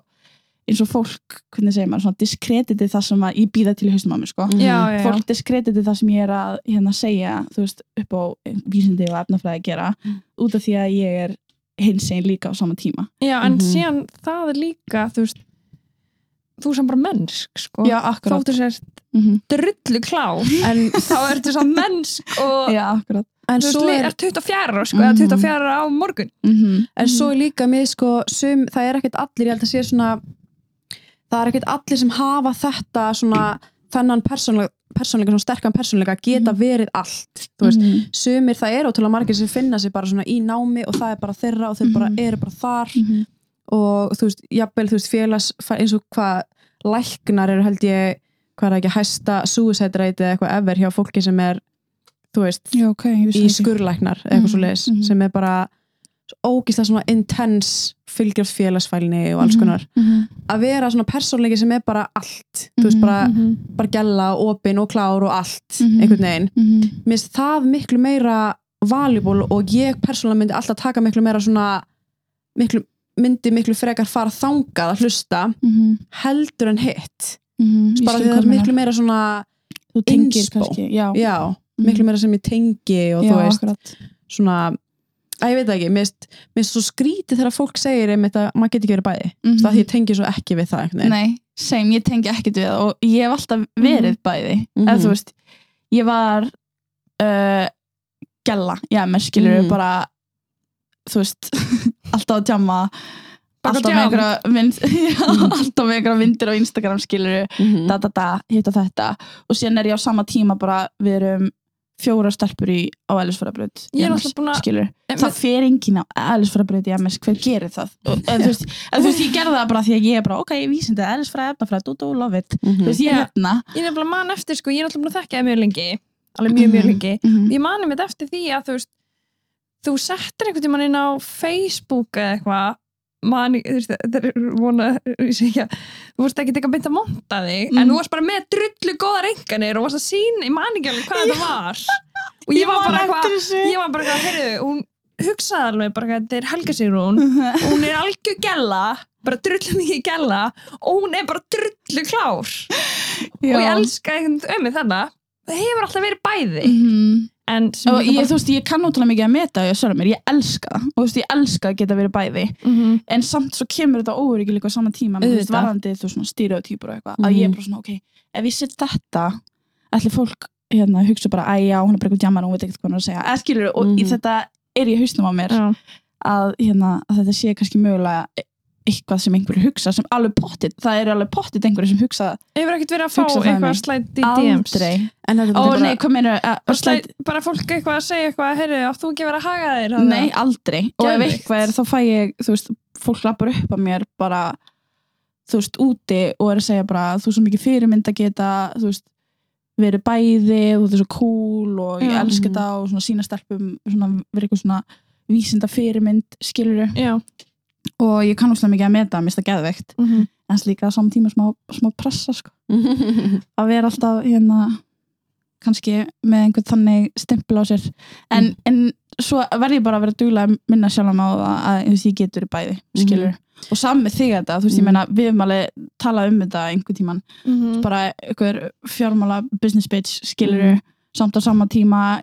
S2: eins og fólk, hvernig segir maður, svona diskrediti það sem að ég býða til í haustum á mér sko
S3: Mhm. Mm,
S1: Já, já, já
S2: fólk diskrediti það sem ég er að hérna segja, þú veist, upp á vísindi og efnafræði að gera út af því að ég er hinsegin líka á sama tíma
S1: Já, en
S3: Mhm.
S1: síðan það er líka Þú veist Þú sem bara mennsk, sko
S2: Já, akkurat
S1: Þóttu sér
S2: mm -hmm.
S1: drullu klá
S3: en,
S1: Þá ertu svo mennsk og
S2: Já, akkurat
S3: en
S1: Þú veist,
S3: svo
S1: li-
S3: er
S1: er 24 ára, sko, eða
S2: Mhm.
S1: 24 ára á morgun
S2: mm -hmm.
S3: En svo er líka með sko, sum, það er ekkert allir, ég held að sé svona, það er ekkert allir sem hafa þetta svona, þennan persónleika, persónleika svona sterkan persónleika geta verið allt, þú veist. Sumir það eru ótrúlega margir sem finna sig bara svona í námi og það er bara þeirra og þeir bara
S2: Mhm.
S3: eru bara þar og þú veist, jafnvel, þú veist, félags, eins og hvað læknar eru held ég, hvað er það ekki, hæsta suicide rate eða eitthvað ever hjá fólki sem er, þú veist,
S2: Já, ok, ég vissi
S3: í
S2: það ekki.
S3: skurlæknar eða eitthvað
S2: Mhm,
S3: svo leiðis
S2: mhm.
S3: sem er bara ógislega svona intense fylgjur félagsfælni og alls
S2: Mhm,
S3: konar
S2: mhm.
S3: að vera svona persónleiki sem er bara allt þú veist
S2: Mhm,
S3: bara,
S1: -hmm.
S3: bara gælla, opin og klár og allt
S2: Mhm.
S3: einhvern veginn
S2: Mhm.
S3: mér finnst það miklu meira valuable og ég persónlega myndi alltaf taka miklu meira svona miklu, myndi miklu frekar fara þangað að hlusta
S2: Mhm,
S3: heldur en hitt
S2: mhm. Ég
S3: bara
S2: skil
S3: því
S2: hvað
S3: það er
S2: þú meinar.
S3: miklu meira svona
S2: Þú tengir
S3: inspo.
S2: kannski, já,
S3: já,
S2: Mhm.
S3: miklu meira sem ég tengi og
S2: já,
S3: þú veist
S2: akkurat
S3: svona að ég veit það ekki, mér finnst- mér finnst svo skrítið þegar fólk segir einmitt að maður getur ekki verið bæði mm
S2: Mhm.
S3: það því ég tengi svo ekki við það einhvern veginn.
S2: Nei, same, ég tengi ekkert við það og ég hef alltaf verið bæði
S3: Mhm.
S2: eða þú veist, ég var uh, gælla já, mér skilur
S3: Mhm.
S2: bara þú veist, alltaf að tjama
S1: Baka
S2: alltaf með
S1: jam.
S2: einhverja mynd, já,
S3: Mhm.
S2: alltaf með einhverja myndir á Instagram skilur da da da, hitt og þetta og síðan er ég á sama tíma bara við erum fjóra stelpur í, á Ellisfærabraut
S1: Ég er náttúrulega búin að-
S2: skilur það fer enginn á eðlisfræðabraut í MS hver gerir það og, en, þú veist, en þú veist, ég gerði það bara því að ég er bara ok, ég vísindi að eðlisfræða, efnafræða, do do, love it þú
S3: Mhm.
S2: veist, ég er
S1: Já.
S2: hérna
S1: Ég er nefnilega man eftir, sko, ég er náttúrulega búin að þekka það mjög lengi alveg mjög, mjög
S2: Mhm.
S1: lengi
S2: Mhm.
S1: Ég mani mitt eftir því að þú veist þú settir einhvern tímann inn á Facebook eða eitthvað mani, þú veist, það er vona ég sé ekki að, þú veist ekki eitthvað beint að monta þig
S2: Mhm.
S1: en þú varst bara með drullu góða reynganir og varst að sína, ég man ekki alveg hvað það var og ég var bara eitthvað ég var bara eitthvað, heyrðu, hún hugsaði alveg bara eitthvað, þetta er Helga Sigrún
S2: Mhm.
S1: hún er algjör gælla bara drullu mikið gælla og hún er bara drullu klár
S2: Já.
S1: og ég elska um mig þannig það hefur alltaf verið bæði
S2: Mhm.
S1: en sem
S2: og
S1: líka
S2: ég, þú veist, ég kann ótrúlega mikið að meta og ég sjálf mér, ég elska það og þú veist, ég elska að geta verið bæði
S1: Mhm.
S2: en samt svo kemur þetta óveriki líka á sama tíma menn, þú veist,
S3: Auðvitað.
S2: varandi þú veist, svona stýriotýpur og eitthvað að ég er
S3: Mhm.
S2: bara svona, ok, ef ég set þetta ætli fólk hérna hugsa bara æ, já, hún er bara eitthvað djamar, hún veit ekkert hvað hún er að segja eða skilur, og í
S3: Mhm.
S2: þetta er ég hausnum á mér
S1: Já.
S2: að, hérna, að þetta sé kannski mögulega e- eitthvað sem einhverju hugsa sem alveg pottit, það er alveg pottit einhverju sem hugsa
S1: hefur ekkert verið að fá
S2: Hugsa það
S1: eitthvað
S2: mig.
S1: slætt í DMs
S2: aldrei
S3: en þetta er
S2: ó
S3: bara,
S2: nei, hvað meina,
S1: bara, slæt, bara fólk eitthvað að segja eitthvað heyrðu, átt þú ekki verið að haga þér Þannig
S2: Nei, aldrei. Og ef
S1: Geðveikt.
S2: eitthvað er þá fæ ég, þú veist, fólk lappar upp að mér bara, þú veist, úti og er að segja bara, þú er svo mikið fyrirmynd að geta, þú veist, verið bæði og þú er svo cool og ég
S1: Já.
S2: elska
S3: Mhm.
S2: það og svona sína stelpum, svona verið eitthvað svona vísinda fyrirmynd, skilur
S1: að- Já.
S2: og ég kann úrslega mikið að meta, mér finnst það geðveikt en slíka samtíma smá, smá pressa, sko, að vera alltaf hérna kannski með einhvern þannig stimpil á sér
S1: Mm.
S2: en, en svo verð ég bara að vera duglega að minna sjálf um á það að þú veist, ég getur bæði
S1: Mhm.
S2: skilur og saman með þig þetta, þú veist, ég
S1: Mm.
S3: Mhm.
S2: meina við höfum alveg talað um þetta einhvern tíman
S1: Mhm.
S2: bara einhver fjármála business bitch skilur
S1: Mm.
S2: samt á sama tíma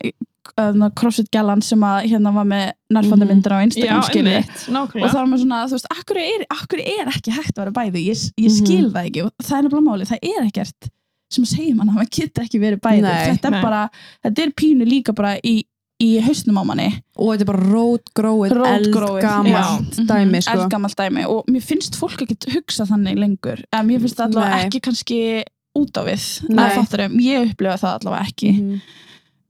S2: öðna, CrossFit Gallan sem að hérna var með nærfanda
S3: Mhm.
S2: myndir á Instagram
S1: Mm. Já,
S2: skilur
S1: einmitt,
S2: og
S1: nákvæmlega
S2: þá er maður svona, þú veist, akkur er, akkur er ekki hægt að vera bæði, ég,
S3: Mhm.
S2: ég skil það ekki og það er nefnilega málið, það er ekkert sem segir mann að maður getur ekki verið bæði
S3: Nei,
S2: þetta er
S1: nei.
S2: bara, þetta er pínu líka bara í, í hausnum á manni
S3: og þetta er bara rótgróið,
S2: Rótgróið,
S3: eldgamalt
S2: já.
S3: dæmi sko.
S2: eldgamalt dæmi og mér finnst fólk ekki hugsa þannig lengur, en mér finnst það allavega
S3: Nei.
S2: ekki kannski út á við
S3: Nei.
S2: að fattarum, ég upplifa það allavega ekki
S3: Mhm.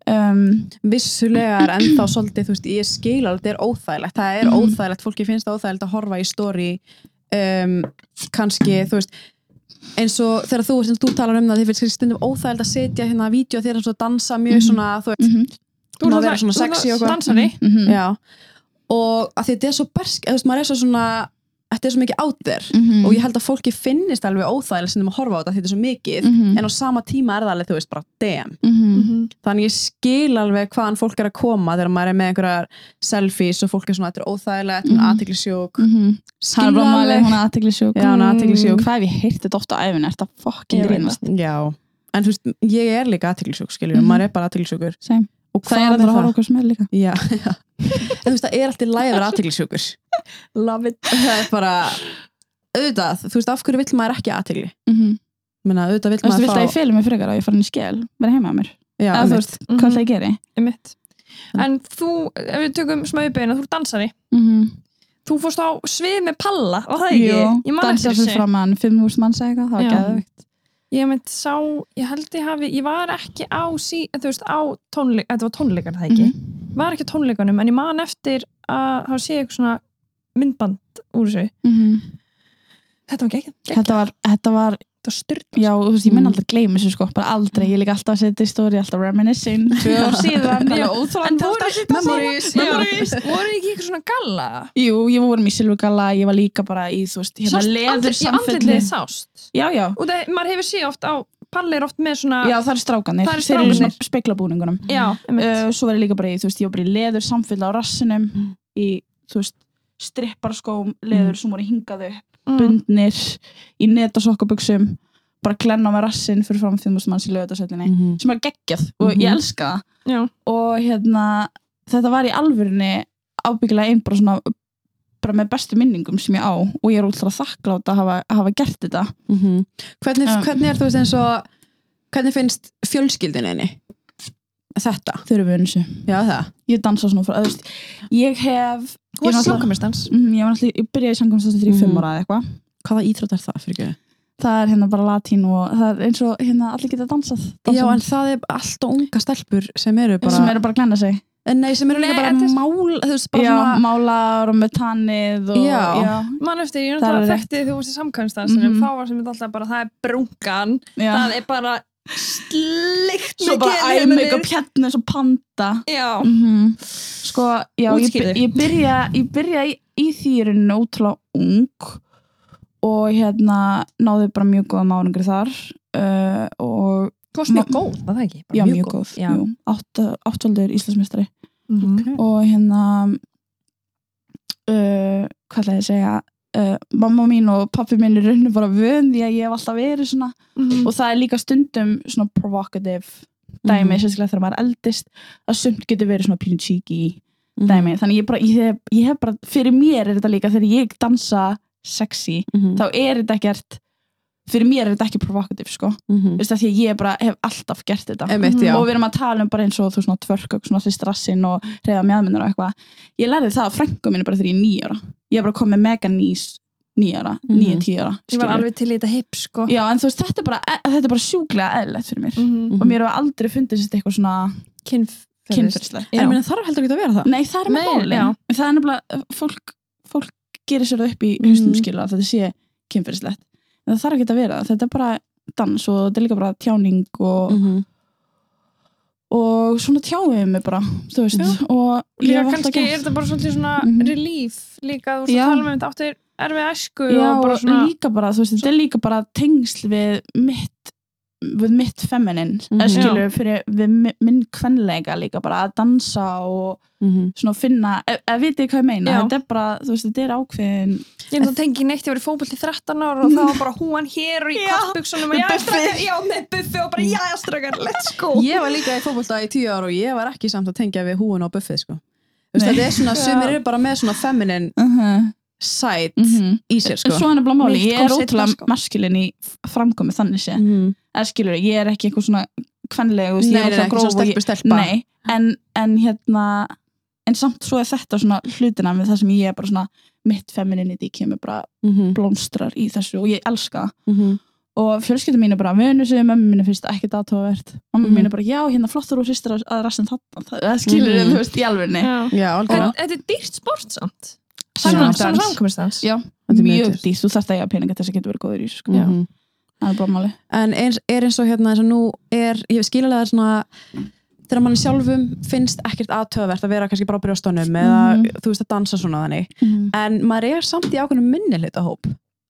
S2: um,
S3: vissulega er ennþá svolítið þú veist, ég skil alveg, þetta er óþægilegt það er
S2: Mhm.
S3: óþægilegt, fólki finnst það óþægilegt að horfa í story um, kannski, þú veist eins og þegar þú, sem þú talar um það þið finnst stundum óþægilegt að setja hérna vídeo þér að dansa mjög
S2: Mhm.
S3: svona, þú veist,
S2: mm -hmm.
S1: Þú
S3: Má
S1: ert
S3: vera
S1: alltaf-
S3: svona
S1: þú ert
S3: sexy og
S1: alltaf
S3: eitthvað.
S1: dansari
S2: Mhm.
S3: já og að því þetta er svo bersk, eða þú veist, maður er svo svona þetta er svo mikið out there
S2: mhm,
S3: og ég held að fólki finnist alveg óþægilegt sem að horfa á þetta því þetta er svo mikið, en
S2: Mhm.
S3: á sama tíma er það alveg, þú veist, bara damn þannig ég skil alveg hvaðan fólk er að koma þegar maður er með einhverjar selfies og fólk er svona, þetta er óþægilegt, mm. hún
S2: Mhm.
S3: er aðteglisjók
S2: Það er
S3: skil
S2: bara
S3: það
S2: málið,
S3: alveg
S2: hún er aðteglisjúk
S3: Já, hún er athyglisjúk.
S2: Hvað hef ég heyrt þetta oft á æfinu, er þetta
S1: Ég
S2: fucking
S1: veit
S2: grínast
S3: já, en þú veist, ég er líka aðteglisjók skiljum,
S2: Mhm.
S3: maður er bara aðteglisjókur
S2: Same.
S3: og
S2: Það er
S3: hvað
S2: allir
S3: er
S2: að horfa
S3: það?
S2: okkur smell líka
S3: Já, já. en þú veist, það er alltaf læg að vera aðteglisjókur
S2: Love it
S3: það er bara auðvitað, þú veist, af hverju vill maður ekki aðtegli menna, auðvitað vill
S2: Þú veist,
S3: maður
S2: vilt að ég feli mig frekar að ég fara inn í skel Verði heima að mér
S3: já,
S2: Eða þú
S3: einmitt.
S2: veist, hvað Mhm. það ég geri
S1: Mhm. Einmitt. En þú, ef við tökum smá uppeyðin að þú er dansari, þú fórst á svið með palla, var það ekki? ég man
S2: dansa
S1: eftir
S2: fyrir
S1: þessu.
S2: fram að hann 5.000 manns eða eitthvað, það
S1: Já.
S2: var geðvögt
S1: Ég mynd sá, ég held ég hafi, ég var ekki á sí, þú veist, á tónleik, þetta var tónleikar það ekki,
S2: Mhm.
S1: var ekki á tónleikunum, en ég man eftir að hafa séð eitthvað svona myndband úr þessu. Þetta var ekki, þetta
S2: Þetta var, þetta var,
S1: var sko. styrn.
S2: já, þú veist, ég mun
S3: Mhm.
S2: aldrei gleyma þessu sko, bara aldrei, ég er líka alltaf að setja í stóri, alltaf reminiscing, tvö ár síðan, alveg
S1: En
S2: óþólandi
S1: voru
S2: alltaf að setja í stóri.
S3: memories
S1: Memories. Voru ekki eitthvað svona galla?
S2: Jú, ég vorum í Silvugala, ég var líka bara í, þú veist, hérna
S1: Sást
S2: leður
S1: andlit- í andlitið sást.
S2: Já, já,
S1: Og það, maður hefur séð oft á, palli er oft með svona,
S2: Já, það eru strákanir.
S1: Það eru
S2: Þeir eru
S1: strákarnir.
S2: svona speiklabúningunum.
S1: já einmitt.
S2: Uh, svo var ég líka bara í, þú veist, ég var bara í leður samfélag á rassinum,
S3: Mm.
S2: í, þú veist, stripparskóm, leður sem voru hingaðu,
S1: Mm.
S2: bundnir, í netasokkabuxum, bara glenna með rassin fyrir fram því múst manns í
S1: Mm.
S2: lögutasöllinni.
S3: Mhm.
S2: Sem var geggjað og ég
S3: Mhm.
S2: elska það.
S1: Já.
S2: Og hérna, þetta var í alvörinni ábyggilega einn bara svona, bara með bestu minningum sem ég á og ég er útrúlega þakklátt að hafa, hafa gert þetta.
S3: Mhm. hvernig,
S2: Já.
S3: hvernig er þú veist eins og hvernig finnst fjölskyldininni þetta?
S2: Þau eru við þessu.
S3: Já, það
S2: Ég dansa svona frá, þú veist, ég hef
S1: Þú varst
S2: náttúrulega-
S1: sjókamistans.
S2: Mm, ég, var alltaf, ég byrjaði í samkvæmstættu þegar ég
S3: Mhm.
S2: fimm ára eða eitthvað.
S3: Hvaða íþrótt er það fyrir ekki?
S2: Það er hérna bara latín og það er eins og hérna allir geta dansað.
S3: Já,
S2: dansað
S3: en það er alltaf unga stelpur sem eru bara...
S2: sem eru bara að glenna sig.
S3: En Nei, sem eru líka
S1: Nei,
S3: bara
S1: en þess-
S3: mál, þú veist, bara
S2: já,
S3: svona...
S2: málar og með tannið og...
S3: Já.
S1: Man eftir, ég er
S2: Það er
S1: náttúrulega
S2: rétt.
S1: þekktið þú varst í samkvæmstansinum,
S2: Mhm.
S1: þá var sem þetta alltaf bara, það er brungan,
S2: já.
S1: það er bara slikt
S2: Svo bara eye make-up hérna eins og panda.
S1: Já,
S2: Mm Sko, já, ég,
S1: Útskýrðu.
S2: ég byrja, ég byrja í, í þýrinu ótrúlega ung og hérna náði bara mjög góða málingri þar uh, og
S1: þú varst mjög góð, var það ekki? Bara
S2: já, mjög, góð.
S1: Já.
S2: Jú, átta- áttfaldur Íslandsmeistari.
S1: Mhm.
S2: og hérna uh, hvað ætla ég að segja uh, mamma mín og pappi mín er rauninu bara vön því að ég hef alltaf verið svona
S1: Mhm. Mm.
S2: og það er líka stundum svona provocative dæmi,
S3: Mhm.
S2: sérstaklega þegar maður er eldist að sumt getur verið svona pínu cheeky
S3: Mhm, Mm.
S2: dæmi, þannig ég, bara, ég, hef, ég hef bara fyrir mér er þetta líka þegar ég dansa sexy,
S3: mhm, Mm.
S2: þá er þetta ekkert fyrir mér er þetta ekki provocative sko,
S3: Mhm.
S2: veist það því að ég bara hef alltaf gert þetta
S3: Einmitt, já.
S2: og við erum að tala um bara eins og þú svona tvörk og svona sýst rassinn og reyða mjöðmennur og eitthvað ég lærði það að frængu mínu bara þegar ég er nýjara ég er bara komið mega nýs nýjara, mm
S3: Mhm.
S2: -hmm. nýja tíjara
S1: Ég var alveg til í þetta hip, sko.
S2: já en þú veist þetta er bara, e- þetta er bara sjúklega eðlilegt fyrir mér
S1: Mhm.
S2: og mér hefur aldrei fundið sér eitthvað svona
S1: Kynferðist.
S2: kynferðslega
S3: En ég meina þarf heldur ekki að vera það.
S2: nei það er með
S1: Nei,
S2: bólin
S1: já.
S2: En það er nefnilega, fólk, fólk gerir sér það upp í haustum
S3: Mhm.
S2: skilur að þetta sé kynferðislegt en það þarf ekki að vera það, þetta er bara dans og þetta er líka bara tjáning og og svona tjáum við mig bara þú veist,
S3: Já.
S2: og
S1: Líka
S2: ég hef alltaf
S1: kannski er
S2: gert
S1: þetta bara svolítið svona
S2: Mhm.
S1: relief, líka þú varst
S2: Já.
S1: að tala með þetta áttir erfið æsku
S2: já,
S1: og bara
S2: og
S1: svona,
S2: líka bara, þú veist, þetta er líka bara tengsl við mitt við mitt feminin mm
S3: Mhm.
S2: skilur fyrir við mi- minn kvenleika líka bara að dansa og svona finna, eða e, vitið þið hvað ég meina
S1: Já.
S2: þetta er bara, þú veist, þetta er ákveðin
S1: Ég það tengi neitt, ég var í fótbolti 13 ára og það var bara húan hér og í
S2: Já.
S1: kappbuksunum og
S2: Með
S1: já,
S2: buffi. Mm.
S1: strákar, já, með buffi og bara já, strákar, let's go.
S3: Ég var líka í fótbolta í tíu ára og ég var ekki samt að tengja við húin og buffið sko. Þú veist,
S2: Nei.
S3: þetta er svona, sumir eru bara með svona feminine
S2: uh -huh.
S3: side
S2: -hmm.
S3: í sér
S2: en
S3: sko.
S2: svo er nefnilega
S1: Mhm,
S2: máli,
S1: Mitt
S2: ég
S1: kom
S2: er
S1: seinna,
S2: ótrúlega
S1: sko.
S2: maskilin í framkomi þannig sé,
S3: Mhm.
S2: eða skilur ég er ekki eitthvað svona kvenlega, þú veist, ég
S3: Nei, nei, nei,
S2: er ótrúlega
S3: ekki
S2: gróf
S3: svona
S2: og ég-
S3: stelpur stelpa Ah.
S2: Nei, en, en hérna en samt svo er þetta svona hlutina með það sem ég er bara svona mitt femininity kemur bara
S3: Mhm,
S2: blómstrar í þessu og ég elska það.
S3: mhm.
S2: og fjölskyldum mín er bara vönu sig, mömmu mín finnst ekkert aðtóðavert mamma
S3: Mhm.
S2: mín er bara já, hérna flottur og sýstir að, að rastin þarna, það, það skilur mm
S3: Mhm.
S2: þú veist í alvegni
S1: En
S3: Já, algjörlega
S1: þetta er dýrt sport samt.
S3: Samkvæmstans.
S1: Saman samkomistans.
S2: Já,
S3: Þetta er mjög
S2: mjög
S3: dýrt.
S2: dýrt, þú þarft að ég að peninga til þess að geta verið góður í þessu sko.
S3: Mhm.
S2: það er bara máli
S3: en er, er eins og hérna eins og nú er, ég skilalega er svona þegar mann sjálfum finnst ekkert aðtöðvert að vera kannski bara á brjóstónum eða þú veist að dansa svona þannig
S2: mm
S3: en maður er samt í ákveðnum minnilita hóp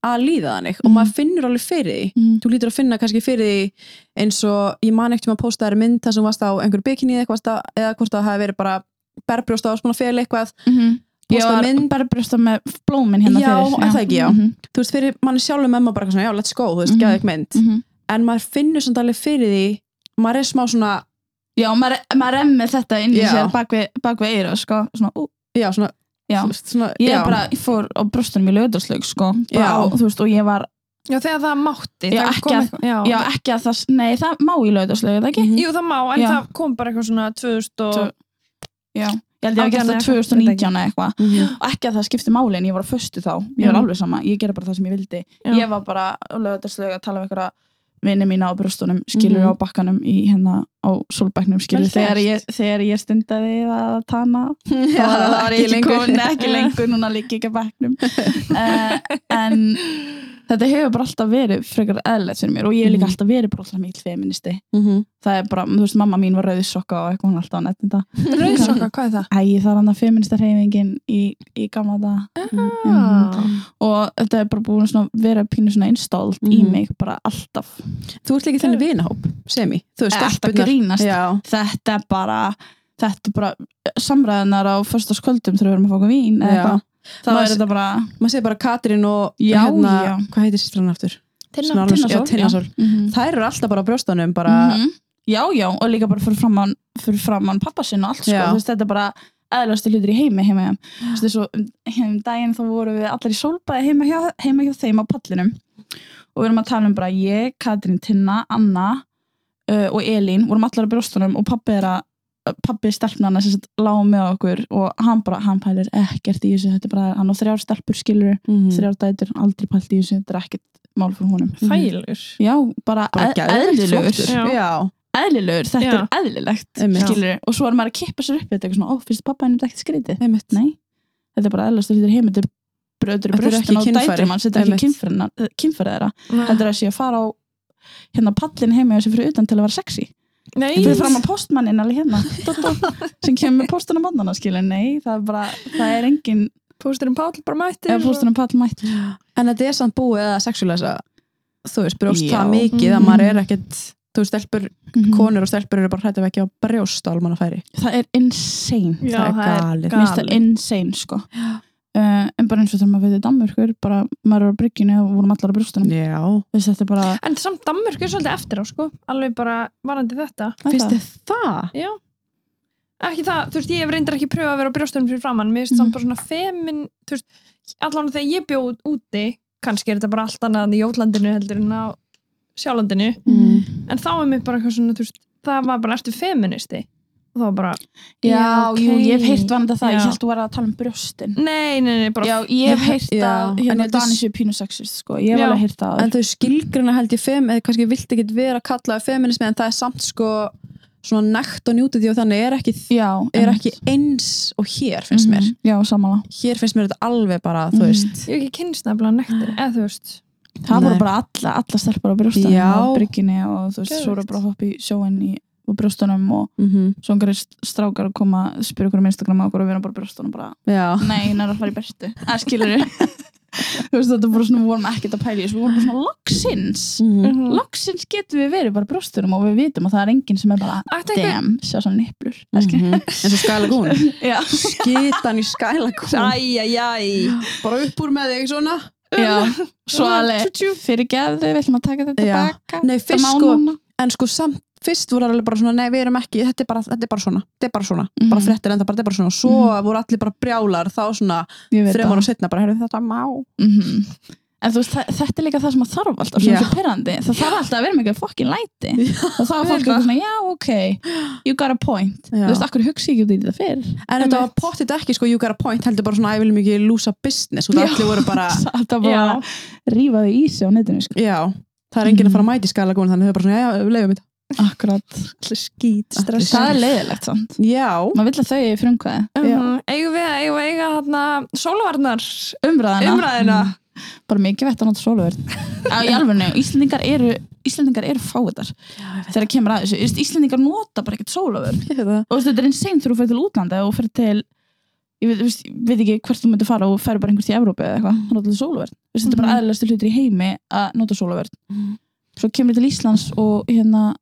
S3: að líða þannig og
S2: Mhm.
S3: maður finnur alveg fyrir því
S2: -hmm.
S3: þú lítur að finna kannski fyrir því eins og ég man ekkert um að posta þær mynd þar sem þú varst á einhver bikini eða, eitthvað varst að- eða hvort það hafi verið bara berbrjóst á svona fel eitthvað
S2: Mhm. Ég
S3: Posta
S2: var
S3: mynd.
S2: bara brjósta með blómin hérna
S3: Já,
S2: fyrir
S3: er það ekki, já.
S2: Mhm,
S3: þú veist fyrir mann sjálfum emma bara eitthvað svona já let's go þú veist
S2: Mhm.
S3: mm mynd
S2: mhm.
S3: en maður finnur samt alveg fyrir því maður er smá svona,
S2: Já, maður maður er með þetta inn í
S3: Já.
S2: sér bak við, bak við eira sko. svona, ú,
S3: já, svona,
S2: já.
S3: þú veist, svona
S2: Ég
S3: já.
S2: bara, ég fór á brjóstunum í löðarslög sko. Bara
S3: Já.
S2: á, þú veist, og ég var
S1: Já, þegar það mátti.
S2: Já,
S1: það
S2: ekki
S1: kom
S2: að-
S1: eitthvað- já.
S2: Já, ekki að það, nei, það má í lögðarslögu, er það ekki?
S3: Mhm.
S1: Jú, það má, en
S2: Mm. Já.
S1: það kom bara eitthvað svona 2000 og...
S2: Tvö- Já. Ég held ég að gert
S1: Átján
S2: það
S1: eða
S2: 2019 eða eitthvað.
S3: Mhm.
S2: Og ekki að það skipti máli, en ég var á föstu þá. Ég var
S1: Já.
S2: alveg sama, ég gera bara það sem ég vildi.
S1: Já.
S2: Ég var bara á lögðarslögu að tala um einhverja vinni mína á brjóstunum, skilur
S3: Mhm.
S2: á bakkanum í hérna á solbæknum,
S3: Vel
S2: skilur. Þegar
S3: gert.
S2: ég, þegar ég stundaði að tana
S3: Já,
S2: það var, það var
S3: ekki
S2: ekki
S3: lengur.
S2: komin ekki lengur núna líka ekki að bæknum uh, en þetta hefur bara alltaf verið frekar eðlætt fyrir mér og ég hef líka
S3: Mhm.
S2: alltaf verið bara alltaf mikil feministi
S3: Mhm.
S2: það er bara, þú veist, mamma mín var rauðsokka og eitthvað hún er alltaf á nettinda
S1: Rauðsokka, hvað er það?
S2: Æ, það er hann að feminista reyfingin í, í gamla dag
S1: Ah,
S2: Mm. og þetta er bara búin svona vera pínu svona instált í
S3: Mhm.
S2: mig bara alltaf,
S3: þú ert líka þenni vinahóp semi, þú veist
S2: alltaf
S3: stelpurnar
S2: grínast
S3: já,
S2: þetta er bara þetta er bara samræðinar á förstaskvöldum þegar við erum að fá okkur vín eða
S3: Já.
S2: eitthvað. þá
S3: Maður
S2: er
S3: s-
S2: þetta bara
S3: maður segir bara Katrin og
S2: Já,
S3: hérna,
S2: já.
S3: hvað heitir sýstrann aftur?
S1: Tinna-
S3: Svona alveg-
S1: Tinnasól,
S3: já, Tinnasól.
S2: mhm.
S3: Þær eru alltaf bara á brjóstanum bara,
S2: Mhm. já, já, og líka bara fyrir framann fyrir framann pappa sinn og allt sko.
S3: Já.
S2: Þú veist, þetta er bara eðlastu hlutur í heimi heima hjá Þú veist, þessu, um daginn þá vorum við allar í sólbæði heima hjá, heima hjá þeim á pallinum og við erum að tala um bara ég, Katrín, Tinna, Anna uh, og Elín vorum allar á brjóstunum og pappi er að pappi stelpnana sem lág með okkur og hann bara, hann pælir ekkert í þessu þetta er bara, hann á þrjár stelpur skilur
S3: Mhm.
S2: þrjár dætur, aldrei pælt í þessu þetta er ekkert mál fyrir honum
S1: Þægilegur.
S2: já, bara,
S3: bara
S2: bara
S3: geðveikt
S2: eðlilegur
S3: flottur.
S1: Já.
S3: já,
S2: eðlilegur, þetta
S1: Já.
S2: er eðlilegt
S3: Einmitt.
S2: skilur, og svo er maður að kippa sér upp við þetta eitthvað svona, ó, finnst pappa henni þetta ekkert skrítið
S3: einmitt
S2: nei, þetta er bara eðlilegt þetta er heim, þetta er
S3: Þetta
S2: bröður
S3: er ekki
S2: bröstin á
S3: kynfæri.
S2: dætur mann, þetta er ekki kynferði þeirra Mm.
S1: Ah.
S2: þetta er að sé að fara á hérna pallin heima og sé fyrir utan til að vera sexy
S1: Nei,
S2: þetta er fram á postmannin alveg hérna dó, dó, sem kemur með póstunum mannana skilur, nei, það er bara það er engin,
S1: Pósturinn Páll bara mættir.
S2: ef póstunum pall mætt
S3: en þetta er samt búið að sexualæsa þú veist, brjóst
S2: Já.
S3: það mikið að
S1: Mhm.
S3: maður er ekkert þú veist, stelpur,
S2: Mhm.
S3: konur og stelpur eru bara hrættu ekki á brjóst á almannafæri
S2: það er insane
S1: Já,
S3: það er
S1: það er
S3: galið.
S1: galið.
S2: Mér finnst það insane sko Uh, en bara eins og þegar maður veit í Danmörkur bara maður er á bryggjunni og vorum allar á brjóstunum
S3: já,
S2: Veist, þetta er bara
S1: En samt Danmörk er svolítið eftir á, sko. Alveg bara varandi þetta.
S3: finnst þið það?
S1: Já. Ekki það, þú veist, ég hef reyndar ekki pröfað að vera á brjóstunum fyrir framann. Mér finnst
S2: Mhm.
S1: samt bara svona femin, þú veist, allan þegar ég bjóð úti, kannski er þetta bara allt annað í Jótlandinu heldur en á Sjálandinu.
S3: Mm.
S1: En þá er mér bara eitthvað svona, þú veist, það var bara eftir feministi. Og þá var bara,
S2: já,
S1: Já,
S2: jú,
S1: ok.
S2: ég hef heyrt vanandi það,
S1: Já.
S2: ég held þú var að tala um brjóstin
S1: nei, nei, nei, bara
S2: já, ég hef heyrt
S3: Já,
S2: að
S3: en
S2: hérna
S3: þetta er-
S2: Danis er pínu sexist sko, ég hef
S1: Já.
S2: alveg heyrt það
S3: en
S2: áður.
S3: þau skilgruna held ég fem eða kannski vilt ekki vera kallaði feminismi en það er samt sko svona nægt og njútið því og þannig er ekki,
S2: já,
S3: er
S2: en-
S3: ekki eins og hér finnst mér
S2: Mhm, já, samála,
S3: hér finnst mér þetta alveg bara, þú
S2: Mhm.
S3: veist
S1: ég hef ekki kynst nefnilega nektin, eða þú veist
S2: það
S3: Nei.
S2: voru bara alla, alla stelpar á brjóstunum
S3: Já.
S2: á bryggjunni og þú veist, svo voru
S1: Geðveikt.
S2: bara að hoppa í sjóin í á brjóstunum og
S3: mm -hmm.
S2: svo einhverjir st- strákar að koma spyrja okkur um Instagram og okkur og við erum bara á brjóstunum bara
S3: já,
S2: nei, hann er að fara í bertu, að skilur þú veist þetta er bara svona, við vorum ekkert að pæla í þessu, við vorum bara svona loksins
S3: Mhm.
S2: loksins getum við verið bara brjósturum og við vitum að það er enginn sem er bara
S1: Ætti einhver-
S2: damn, sjá svona niplur mm
S3: Mhm. eins og skælagún
S2: já,
S3: skitan í skælagún
S1: Æjæjæj
S3: bara upp úr með þig svona
S2: já, svo alveg fyrir við ætlum að taka þetta
S3: Já.
S2: tilbaka
S3: Nei,
S2: Það
S3: fyrst
S2: má
S3: sko-
S2: núna.
S3: en sko samt fyrst voru alveg bara svona, nei við erum ekki, þetta er bara, þetta er bara svona þetta er bara svona,
S2: Mhm.
S3: bara fréttir en það bara, þetta er bara svona og svo voru allir bara brjálar þá svona
S2: Ég veit
S3: þreim
S2: það.
S3: ára setna bara, herrðu þetta má
S2: Mhm. En þú veist, þa- þetta er líka það sem að þarf alltaf, sem
S3: Já.
S2: er svo pyrrandi. Það þarf alltaf að vera með eitthvað fokkin læti. Og þá er
S1: Ég
S2: fólk
S1: veit
S2: eitthvað
S1: það.
S2: svona, já, ok, you got a point.
S3: Já.
S2: Þú veist, akkur hugsi ekki út í þetta fyrr.
S3: en þetta var pottit ekki sko, you got a point heldur bara svona, æ, viljum ekki lúsa business og
S2: Já.
S3: það allir voru bara,
S2: Þetta var bara
S1: Já.
S2: að rífa þau í sig á netinu, sko.
S3: já það er enginn að fara
S2: Mhm.
S3: að mæti skælagún þannig þau bara svona, já, já, við leifum þetta
S2: Akkurat.
S1: Allir skýt
S2: Það er leiðilegt, sant?
S3: já,
S2: Maður vill að þau er frumkvæði.
S1: Eigum við að eigum við að eiga hérna sólvarnar
S2: Umræðina.
S1: umræðina
S2: Bara mikið vett að nota sóluverð. Já, í alveg, Íslendingar eru, Íslendingar eru fáiðar þegar kemur að þessu. Þú veist, Íslendingar nota bara ekkert sóluverð.
S3: ég veit það
S2: og þú veist, þetta er insane þegar þú fyrir til útlanda og fyrir til ég veit, veist, veit ekki hvert þú myndir fara og ferð bara einhvers í Evrópu eða eitthvað, þá notar þú sóluverð veist, þetta er bara
S1: Mhm.
S2: aðlilegstu hlutur í heimi að nota sóluverð
S3: Mhm.
S2: svo kemur til Íslands og hérna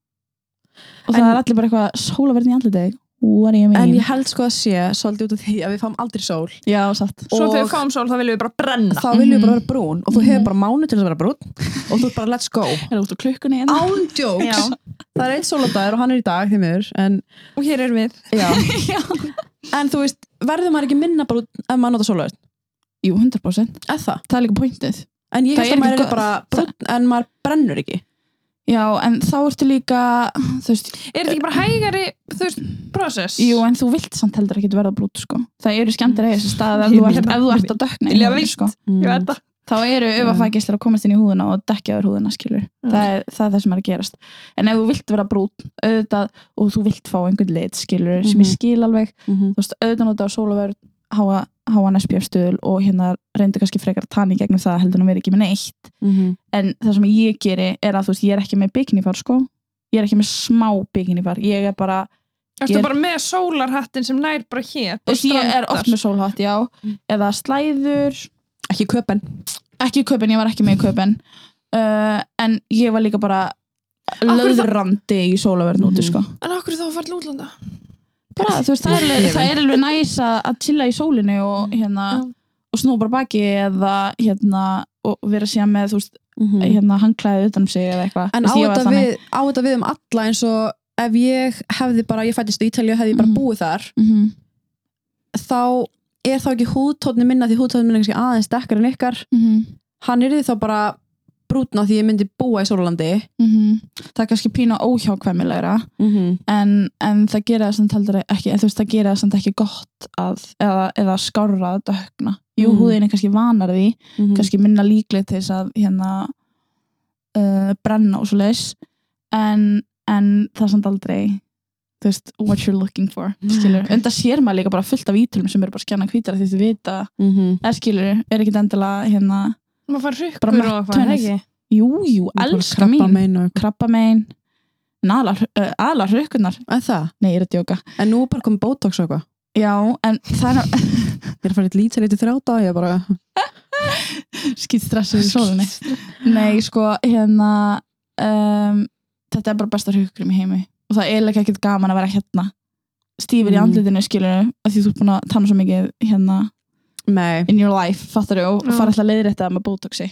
S2: og það
S3: En-
S2: er allir bara eitthvað sóluverðin í andlitið what do you
S3: en
S2: mean
S3: ég held sko að sé, svolítið út af því að við fáum aldrei sól
S2: já, satt
S1: Svo
S3: Og-
S1: þegar við fáum sól þá viljum við bara brenna
S3: þá viljum við bara
S2: Mhm.
S3: vera brún og þú hefur
S2: Mhm.
S3: bara mánu til þess að vera brún og þú ert bara let's go
S2: er út á klukkunni
S3: Ah.
S2: hérna
S3: ándjóks, það er eitt sóladagir og hann er í dag því miður, en
S1: Og hér erum við
S3: já
S2: Já.
S3: En þú veist, verður maður ekki minna bara út ef maður nota sólaverð?
S2: jú, 100%
S3: Eða það?
S2: það er líka pointið
S3: En ég
S2: Það
S3: held
S2: er
S3: að maður
S2: ekki
S3: er
S2: gott.
S3: bara brunn en maður brennur ekki.
S2: já, en þá ertu líka þú veist,
S1: Er þetta ekki bara hægari, þú veist, process?
S2: Jú, en þú vilt samt heldur ekki verða brút sko. Það eru skemmtir eða þessi stað ef
S1: Ég
S2: þú ert,
S1: meina-
S2: ef þú ert að dökna í
S1: Vilja
S2: húðinni,
S1: víst.
S2: sko.
S1: Ég veit það
S2: Þá eru öfafækislar að komast inn í húðuna og dekja yfir húðuna skilur. Það, er, það er það sem er að gerast. En ef þú vilt vera brút auðvitað, og þú vilt fá einhvern lit skilur sem ég
S3: Mhm.
S2: skil alveg
S3: Mhm.
S2: þú veist, auðvitað nota á sóluverð háa, háan SPF stöðul og hérna reyndu kannski frekar að tani gegnum það heldur en að vera ekki með neitt.
S3: mhm,
S2: En það sem ég geri er að þú veist, ég er ekki með bikinifar sko. Ég er ekki með smá bikinifar. Ég er bara
S1: Ertu
S2: Ég-
S1: bara með sólarhattin sem nær bara hér
S2: Þú veist, ég er oft með sólhatt, já
S3: Mm.
S2: eða slæður,
S3: Ekki köpen.
S2: ekki köpen, ég var ekki með köpen uh, en ég var líka bara
S1: hverju það-
S2: löðrandi í sólaverðin úti
S3: Mhm.
S2: sko.
S1: En okkur þá farið útlanda?
S2: bara, þú veist, það er, alveg- það er alveg næs að að chilla í sólinu og
S3: Mm.
S2: hérna
S1: Já.
S2: og snúa bara baki eða hérna og vera síðan með, þú veist,
S3: En
S2: hérna hangklæðið utan um sig eða
S3: mhm. Mm.
S2: eitthvað
S3: á
S2: Þú veist, ég var
S3: þetta,
S2: þannig.
S3: við, á þetta við um alla eins og ef ég hefði bara, ég fættist í Ítalíu, hefði ég bara
S2: Mhm.
S3: búið þar,
S2: Mhm.
S3: þá er þá ekki húðtótni minna því húðtótni minna er kannski aðeins dekkar en ykkar.
S2: Mhm.
S3: Hann er því þá bara brútna því ég myndi búa í sólandi.
S2: Mhm. það er kannski pína óhjákvæmilegra Mhm. en, en það gera það samt heldur ekki en þú veist það gera það samt ekki gott að, eða, eða skárra að dökna jú,
S3: Mhm.
S2: húðin er kannski vanar því
S3: Mm.
S2: kannski minna líklegt til þess að hérna uh, brenna og svo leis en, en það er samt aldrei þú veist, what you're looking for skilur, enda sér maður líka bara fullt af ítölum sem eru bara skjanna hvítara því þú vita eða skilur, er ekki endilega hérna,
S1: Maður farið
S2: Bara
S1: hrykkur og eitthvað,
S2: tönnuð.
S1: ekki?
S2: jú, jú, elska mín
S3: Meinu.
S2: krabbamein aðlar hrökkunar,
S3: En það?
S2: nei, ég er að djóka
S3: En nú er bara komið botox og eitthvað.
S2: já, en það er
S3: Ég er að fara í lítið lítið þrjáta og ég er bara...
S2: skýt stressið í sólunni nei, sko, hérna um, þetta er bara besta hugurum í heimi og það er leika ekkert gaman að vera hérna stífur í
S3: Mm.
S2: andlitinu skilur að því þú ert búin að tanna svo mikið hérna
S3: Nei.
S2: in your life, fattar og
S1: Já.
S2: fara alltaf að leiðrétta það með botoxi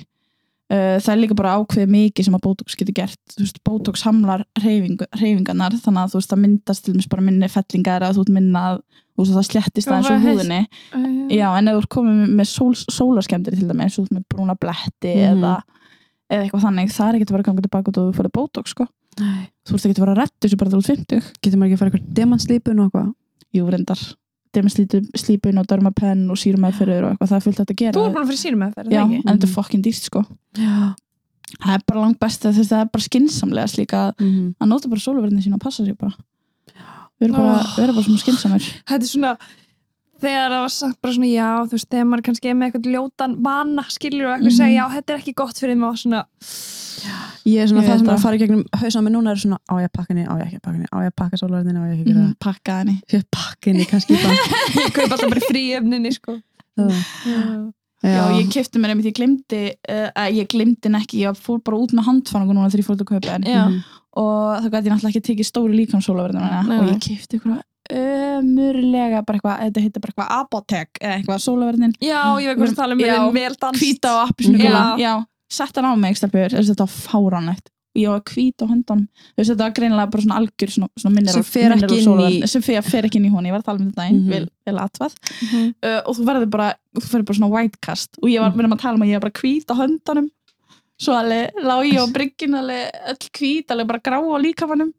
S2: uh, það er líka bara ákveðið mikið sem að botox getur gert þú veist, botox hamlar hreyfingu, hreyfingarnar þannig að þú veist, það myndast til dæmis bara minni fellingar að þú ert minna að þú veist, það slettist
S1: Já,
S2: aðeins
S1: bara
S2: úr
S1: heist-
S2: húðinni Já, en ef þú ert komið með sól, sólaskemdir til dæmis, út með brúna bletti
S3: Mhm.
S2: eða, eða eitthvað þannig, það er ekki að vera ganga tilbaka út og þú fyrir bótók, sko.
S3: Nei.
S2: Þú ert ekki að vera rætt þessu bara til út 50.
S3: Getur maður ekki að fara eitthvað demanslípun og eitthvað?
S2: Jú, reyndar. Þegar með slípun og dörmapenn og sírumæðferður og eitthvað, það er fullt hægt að gera.
S1: Þú er búin að fyrir sírum með
S2: Já,
S1: það,
S2: en þetta er
S3: Mhm.
S2: fokkin dýrt, sko.
S3: Já.
S2: Það er bara langt best að það er bara skinsamlega slíka að-
S3: Mm -hmm.
S2: að nota bara sóluverðinu sína og passa sér bara. Við erum bara,
S1: Oh.
S2: við erum bara svona skinsamir.
S1: Þetta er svona þegar það var sagt bara svona já, þú veist, þegar maður kannski er með eitthvað ljótan vana skilur og eitthvað
S2: Mhm.
S1: segja já, þetta er ekki gott fyrir maður svona,
S3: Ég er svona
S2: Ég
S3: það
S2: veit
S3: sem er
S2: það.
S3: að fara í gegnum hausna með núna er svona á ég að pakka henni, á ég ekki að pakka henni, á ég að pakka sólverðinni, á ég ekki að gera
S2: Mhm, Pakka henni.
S3: það. Ég pakka henni kannski bara.
S1: ég kaup alltaf bara frí efninni sko.
S3: Það.
S2: Já,
S3: Mhm.
S2: ég kefti mér einmitt, ég glemdi, uh, ég glemdi hann ekki, ég fór bara út með handfanningu núna þegar ég fór út að kaupa henn.
S1: Já.
S3: Mhm.
S2: Og þá gæti ég náttúrulega ekki tekið stóri líkamsólaverðina
S1: Nei,
S2: og
S1: nei.
S2: ég kefti ykkur ömurlega, bara eitthvað, eh, þetta heitir bara eitthvað apotek eða eitthvað sólaverðin,
S1: Já, ég veit hvað það tala um,
S2: Já.
S1: það er vel danst.
S2: hvíta og
S1: Já.
S2: appisnugula. Já, sett hann á mig, stelpur, þessi þetta var fáránlegt. Ég var hvít á höndunum, þú veist þetta var greinilega bara svona algjör, svona, svona minnir
S3: Sem fer ekki inn í-
S2: sem fer, fer ekki inn í hún, ég var að tala um þetta einn,
S3: Mhm.
S2: vel, vel atvað. uh, og þú verður bara, þú verður bara svona white cast og ég var, verðum að tala um að ég var bara hvít á höndanum svo alveg lág ég á bryggin alveg öll hvít, alveg bara grá á líkamanum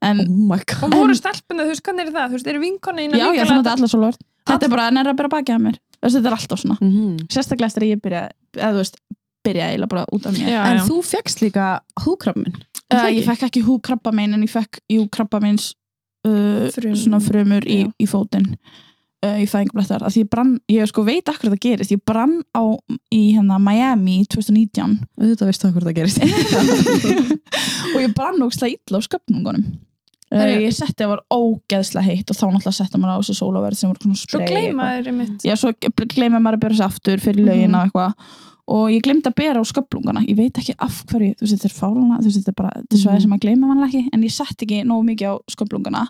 S2: en
S3: Oh my god.
S1: Og voru stelpuna, þú veist, hvernig er það? Þú veist, eru vinkonu
S2: já, ég fann þetta allar svo lort
S1: All-
S2: þetta er bara, en er að bera bakið að mér Þessi, þetta er alltaf svona,
S3: Mm
S2: sérstaklega eftir að ég byrja eða þú veist, byrja eiginlega bara út af mér
S1: Já,
S3: En
S1: já.
S3: þú fegst líka húkrabmin.
S2: uh, ég fekk ekki hú krabba mein en ég fekk jú krabba meins uh,
S1: Frumur.
S2: svona frumur í,
S1: Já.
S2: í fótinn uh, í fæðingablettar að því ég brann, ég sko veit akkur það gerist ég brann á í hérna Miami 2019
S3: Þetta veistu hvað það gerist.
S2: og ég brann ógstlega illa á sköpningunum uh,
S1: Herru.
S2: ég setti að var ógeðslega heitt og þá náttúrulega setja maður á þessu sólaverð sem voru svona
S1: Svo
S2: spray
S1: gleyma
S2: eitthvað.
S1: þeir einmitt.
S2: já, svo gleyma maður að bera sér aftur fyrir
S1: Mhm.
S2: lögin og eitthvað og ég glemdi að bera á sköplungana ég veit ekki af hverju, þú veist þetta er fárluna þú veist þetta er bara, þetta er svæði
S3: Mhm.
S2: sem maður gleyma mann ekki en ég setti ekki nógu mikið á sköplungana